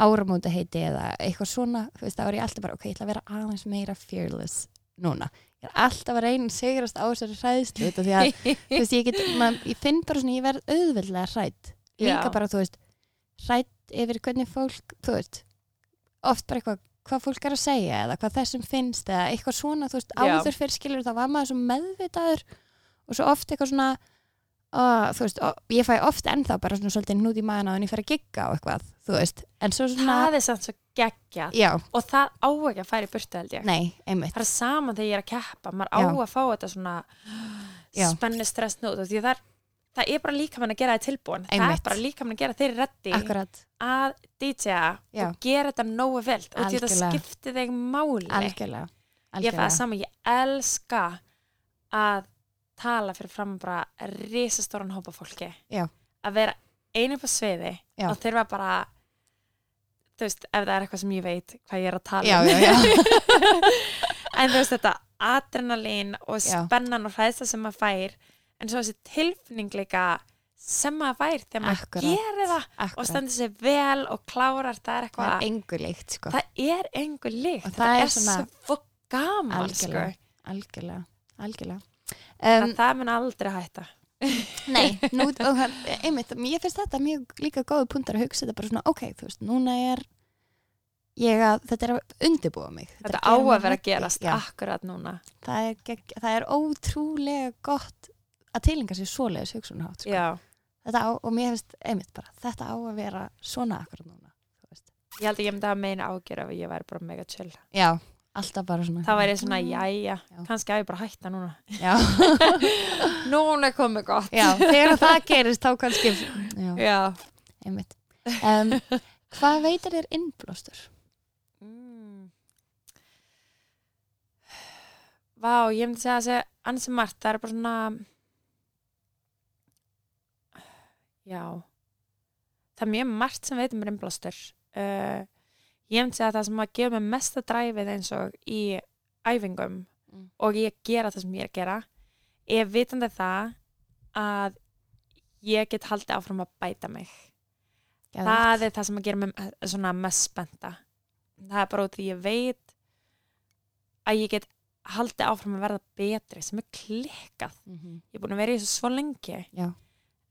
Speaker 1: áramóta heiti eða eitthvað svona, þú veist, þá er ég alltaf bara ok, ég ætla að vera aðeins meira fearless núna, ég er alltaf að reyna að sigrast á þessari hræðslu, þetta því að þú veist, ég get, man, ég finn bara svona, ég verð auðveldlega hrætt, líka
Speaker 2: Já.
Speaker 1: bara, þú veist hrætt yfir hvernig fólk þú veist, oft bara eitthvað hvað fólk er að segja eða hvað þessum finnst eða eitthvað svona, þú veist,
Speaker 2: Já.
Speaker 1: áður fyrir skilur þá var maður svo meðvitaður og svo oft eitthvað svona og Ah, þú veist, og ég fæ oft ennþá bara svona svolítið hnút í maðan á en ég fer að gigga og eitthvað, þú veist, en svo svona
Speaker 2: það er samt svo geggja
Speaker 1: já,
Speaker 2: og það á ekki að færa í burtu held ég
Speaker 1: nei, einmitt
Speaker 2: það er saman þegar ég er að keppa maður á
Speaker 1: Já.
Speaker 2: að fá þetta svona
Speaker 1: Já.
Speaker 2: spennu stressnót því það er, það er bara líka mann að gera það tilbúin það
Speaker 1: Einmitt.
Speaker 2: er bara líka mann að gera þeirri reddi
Speaker 1: akkurat,
Speaker 2: að DJ-a
Speaker 1: Já.
Speaker 2: og gera þetta nógu vel og því þetta
Speaker 1: Algjörlega.
Speaker 2: skipti þig máli
Speaker 1: algjörlega
Speaker 2: ég fæði
Speaker 1: algjörlega,
Speaker 2: saman, ég elska að tala fyrir fram bara risastóran hópa fólki
Speaker 1: Já.
Speaker 2: að vera einu på sviði
Speaker 1: Já.
Speaker 2: og þurfa bara þú veist, ef það er eitthvað sem ég veit hvað ég er að tala
Speaker 1: já,
Speaker 2: um
Speaker 1: já, já
Speaker 2: en þú veist þetta adrenalín og
Speaker 1: Já.
Speaker 2: spennan og hræðsla sem maður fær en svo þessi tilfinning líka sem maður fær þegar maður
Speaker 1: Akkurat.
Speaker 2: gerir það og
Speaker 1: akkurat,
Speaker 2: stendur sér vel og klárar það er
Speaker 1: það
Speaker 2: eitthvað,
Speaker 1: er engu líkt, sko
Speaker 2: það er engu líkt
Speaker 1: Og
Speaker 2: þetta
Speaker 1: það er
Speaker 2: er,
Speaker 1: svona-
Speaker 2: svo gaman sko.
Speaker 1: Algjörlega. algjörlega, algjörlega
Speaker 2: um,
Speaker 1: um,
Speaker 2: það mun aldrei hætta
Speaker 1: Nei, nú, og, hann- einmitt, ég finnst þetta mjög líka góðu puntar að hugsa þetta bara svona, ok, þú veist, núna er ég að, þetta er að undirbúa mig
Speaker 2: þetta
Speaker 1: er
Speaker 2: á
Speaker 1: gera mig
Speaker 2: að vera að
Speaker 1: ready.
Speaker 2: gerast
Speaker 1: Já,
Speaker 2: akkurat núna
Speaker 1: það, er, gegg- það er ótrúlega gott að tilinga sér svoleiðis hugsunarhátt sko.
Speaker 2: já.
Speaker 1: þetta á, og mér finnst, einmitt bara þetta á að vera svona akkur núna þú veist.
Speaker 2: ég held að ég myndi að meina ágjör ef ég væri bara mega chill
Speaker 1: Já, alltaf bara svona
Speaker 2: það væri svona, jæja,
Speaker 1: Já.
Speaker 2: kannski að ég bara að hætta núna
Speaker 1: Já,
Speaker 2: núna er komið gott
Speaker 1: já þegar það gerist þá kannski Já,
Speaker 2: Já.
Speaker 1: einmitt um, Hvað veitir þér innblóstur?
Speaker 2: Mm. Vá, ég myndi segja að segja ansi margt, það er bara svona já það er mjög margt sem veitum mér innblástur uh, ég myndi segja að það sem að gefa mér mesta dræfið eins og í æfingum
Speaker 1: Mm.
Speaker 2: og ég gera það sem ég er að gera ég vitandi það að ég get haldið áfram að bæta mig það er það sem að gera mig eh, svona mest spennta það er bara út því ég veit að ég get haldið áfram að verða betri sem er klikkað
Speaker 1: mm -hmm.
Speaker 2: ég er búin að vera í þessu svo lengi
Speaker 1: Já.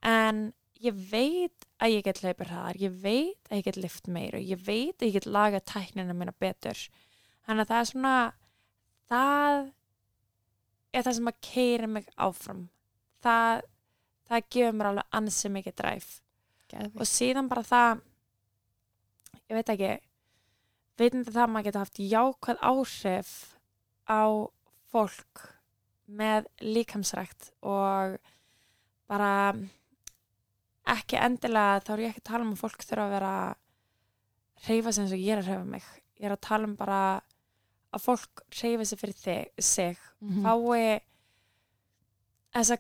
Speaker 2: en ég veit að ég get hlaupið hraðar ég veit að ég get lift meira ég veit að ég get lagað tæknina minna betur þannig að það er svona það er það sem að keira mig áfram það, það gefur mér alveg ansið mikið dræf og síðan bara það ég veit ekki veitandi það að maður getur haft jákvæð áhrif á fólk með líkamsrækt og bara ekki endilega þá er ég ekki að tala um að fólk þurfa að vera reyfa sig eins og ég er að reyfa mig ég er að tala um bara að fólk reyfa sig fyrir þig, sig
Speaker 1: Mhm, Mm.
Speaker 2: fái þessa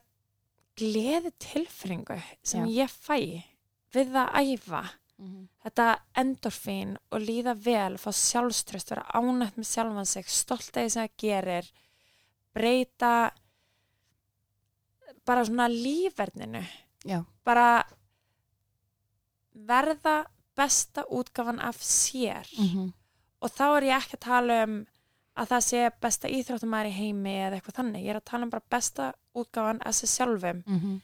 Speaker 2: gleði tilfringu sem ég fæ við það æfa
Speaker 1: mhm,
Speaker 2: þetta endorfín og líða vel fá sjálfströst, vera ánætt með sjálfan sig stolt af því sem það gerir breyta bara svona lífverðninu
Speaker 1: Já.
Speaker 2: bara verða besta útgafan af sér
Speaker 1: Mhm.
Speaker 2: og þá er ég ekki að tala um að það sé besta íþróttumæður í heimi eða eitthvað þannig, ég er að tala um bara besta útgáfan að sér sjálfum
Speaker 1: mhm,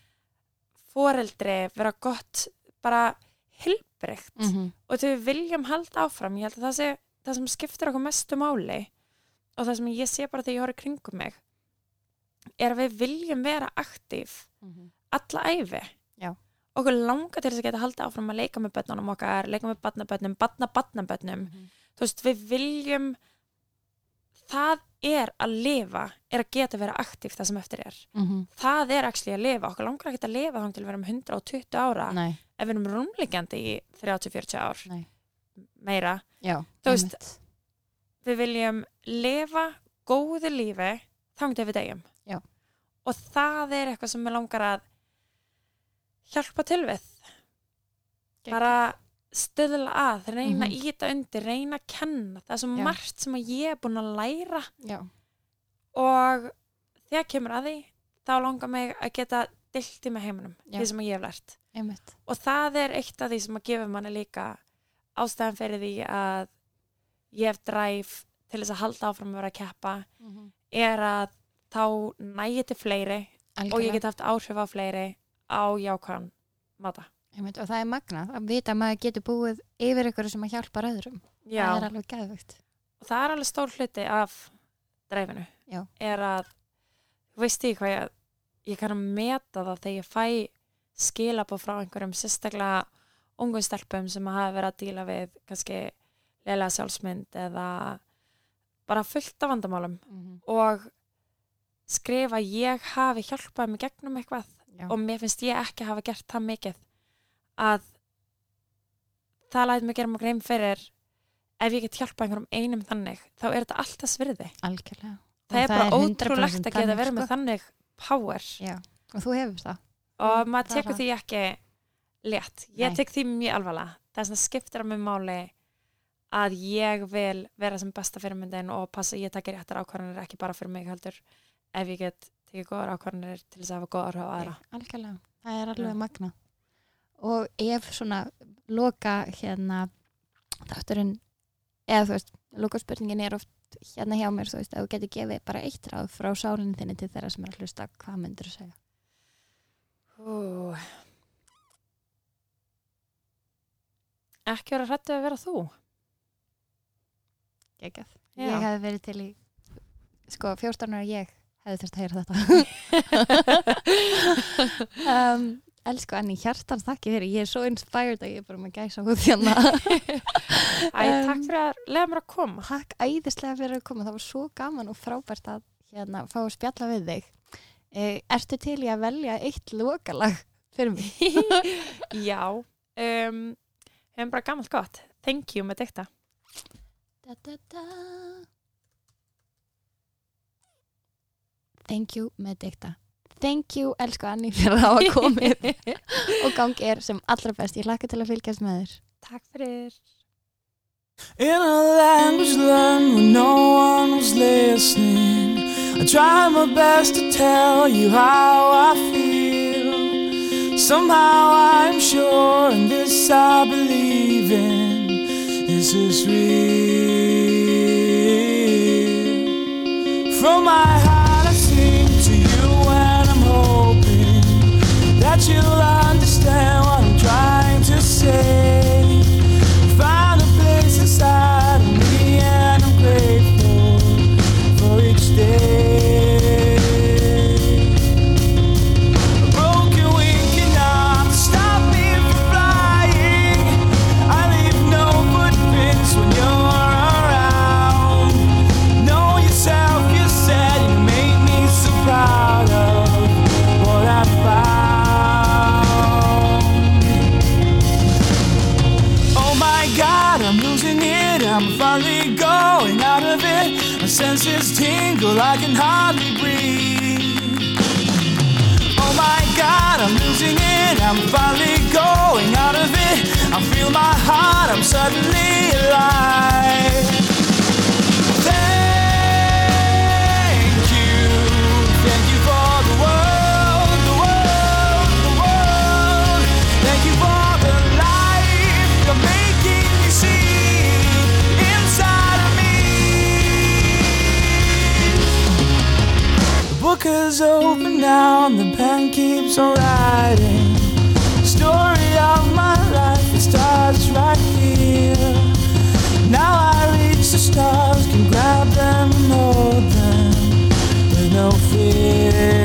Speaker 2: foreldri vera gott bara hilbreykt
Speaker 1: Mhm.
Speaker 2: og þegar við viljum halda áfram ég held að það sé það sem skiptir okkur mestu máli og það sem ég sé bara þegar ég horf í kringum mig er að við viljum vera aktíf
Speaker 1: mhm,
Speaker 2: alla æfi
Speaker 1: Já.
Speaker 2: okkur langar til þess að geta halda áfram að leika með börnunum okkar, leika með barnabörnum barna barnabörnum,
Speaker 1: mhm,
Speaker 2: þú veist við viljum það er að lifa er að geta vera aktíf það sem eftir er
Speaker 1: mhm.
Speaker 2: það er actually að lifa, okkur langar ekki að lifa þá til við erum 120 ára
Speaker 1: Nei,
Speaker 2: ef við erum rúmliggjandi í 30-40 ár
Speaker 1: Nei.
Speaker 2: meira,
Speaker 1: já
Speaker 2: Þú veist, við viljum lifa góðu lífi þangt ef við degjum
Speaker 1: Já.
Speaker 2: og það er eitthvað sem við langar að hjálpa til við
Speaker 1: Geggjað.
Speaker 2: bara stöðla að, reyna að
Speaker 1: Mhm.
Speaker 2: íta undir reyna að kenna, það er svo
Speaker 1: Já.
Speaker 2: margt sem að ég er búin að læra
Speaker 1: já,
Speaker 2: og þegar kemur að því þá langar mig að geta dilti með heiminum,
Speaker 1: Já.
Speaker 2: því sem ég hef lært
Speaker 1: einmitt
Speaker 2: og það er eitt af því sem að gefa manni líka ástæðan fyrir því að ég hef dræf til þess að halda áfram að vera að keppa er að þá næ ég til fleiri og ég
Speaker 1: Algjörlega,
Speaker 2: get haft áhrif á fleiri á jákvæðan máta.
Speaker 1: einmitt, og það er magnað að vita að maður getur búið yfir ykkur sem að hjálpa öðrum, það er
Speaker 2: Já,
Speaker 1: alveg geðvögt
Speaker 2: og það er alveg stór hluti af dræfinu
Speaker 1: Já.
Speaker 2: er að, veist því hvað ég ég kann að meta það þegar ég fæ skilabóð frá einhverjum sérstaklega ungum stelpum sem að hafa verið að díla við kannski leila sjálfsmynd eða bara fullt af vandamálum
Speaker 1: Mhm.
Speaker 2: og skrifa ég hafi hjálpað mig gegnum eitthvað
Speaker 1: Já.
Speaker 2: og mér finnst ég ekki hafa gert það mikið að það læt mig gera mig grein fyrir ef ég get hjálpað einhverjum einum þannig þá er þetta allt þess virði
Speaker 1: algjörlega
Speaker 2: það, er bara ótrúlegt að geta verið með þannig power
Speaker 1: sko. Já, og þú hefur það
Speaker 2: og
Speaker 1: það
Speaker 2: maður
Speaker 1: er
Speaker 2: tekur
Speaker 1: það.
Speaker 2: því ekki létt, ég
Speaker 1: Nei.
Speaker 2: tek því mjög alvarlega það er svona skiptir að mig máli að ég vil vera sem besta fyrirmyndin og passa að ég takir réttar ákvarðanir ekki bara fyrir mig heldur ef ég get tekið góðar ákvarðanir til þess að hafa góðar á aðra
Speaker 1: algjörlega, það er
Speaker 2: Já.
Speaker 1: alveg magna og ef svona loka hérna þátturinn, eða þú veist loka spurningin er oft hérna hjá mér þú veist, að þú getur gefið bara eitt ráð frá sálinni þinni til þeirra sem er að hlusta hvað myndur þú segja?
Speaker 2: Ú. ekki vera hrættu að vera þú
Speaker 1: Gekað.
Speaker 2: Já.
Speaker 1: Ég hefði verið til í sko, 14 ára ég hefði þurft að heyra þetta um, Elsku Anni, hjartans þakki fyrir ég er svo inspired að ég er bara með gæsa húð hérna
Speaker 2: Æ,
Speaker 1: Um.
Speaker 2: takk fyrir að leiða mér að koma
Speaker 1: Takk æðislega fyrir að koma, það var svo gaman og frábært að hérna, fá að spjalla við þig uh, Ertu til í að velja eitt lokalag fyrir mig?
Speaker 2: já um, hefum bara gammalt gott thank you með dikta
Speaker 1: Da, da, da. Thank you, Medikta. Thank you, elsku Anni, fyrir að hafa komið og gangi er sem allra best. Ég hlakka til að fylgjast með þér.
Speaker 2: takk fyrir
Speaker 3: In a language learned when no one was listening. I try my best to tell you how I feel. Somehow I'm sure, and this I believe in. This is real. From my heart, I sing to you, and I'm hoping that you'll understand what I'm trying to say. Find a place inside of me, and I'm grateful for each day. A broken wing cannot stop me from flying. I leave no footprints when you're around. Know yourself, you said you made me so proud of what I found. Oh my god, I'm losing it. I'm finally going out of it. My senses tingle, I can hardly breathe. Oh my god, I'm losing it. I'm finally going out of it. I feel my heart, I'm suddenly alive. Thank you, thank you for the world, the world, the world. Thank you for the life you're making me see inside of me. The book is open now and the pen keeps on writing. The story of my life, it starts right here. Now I reach the stars, can grab them and hold them with no fear. Oh Oh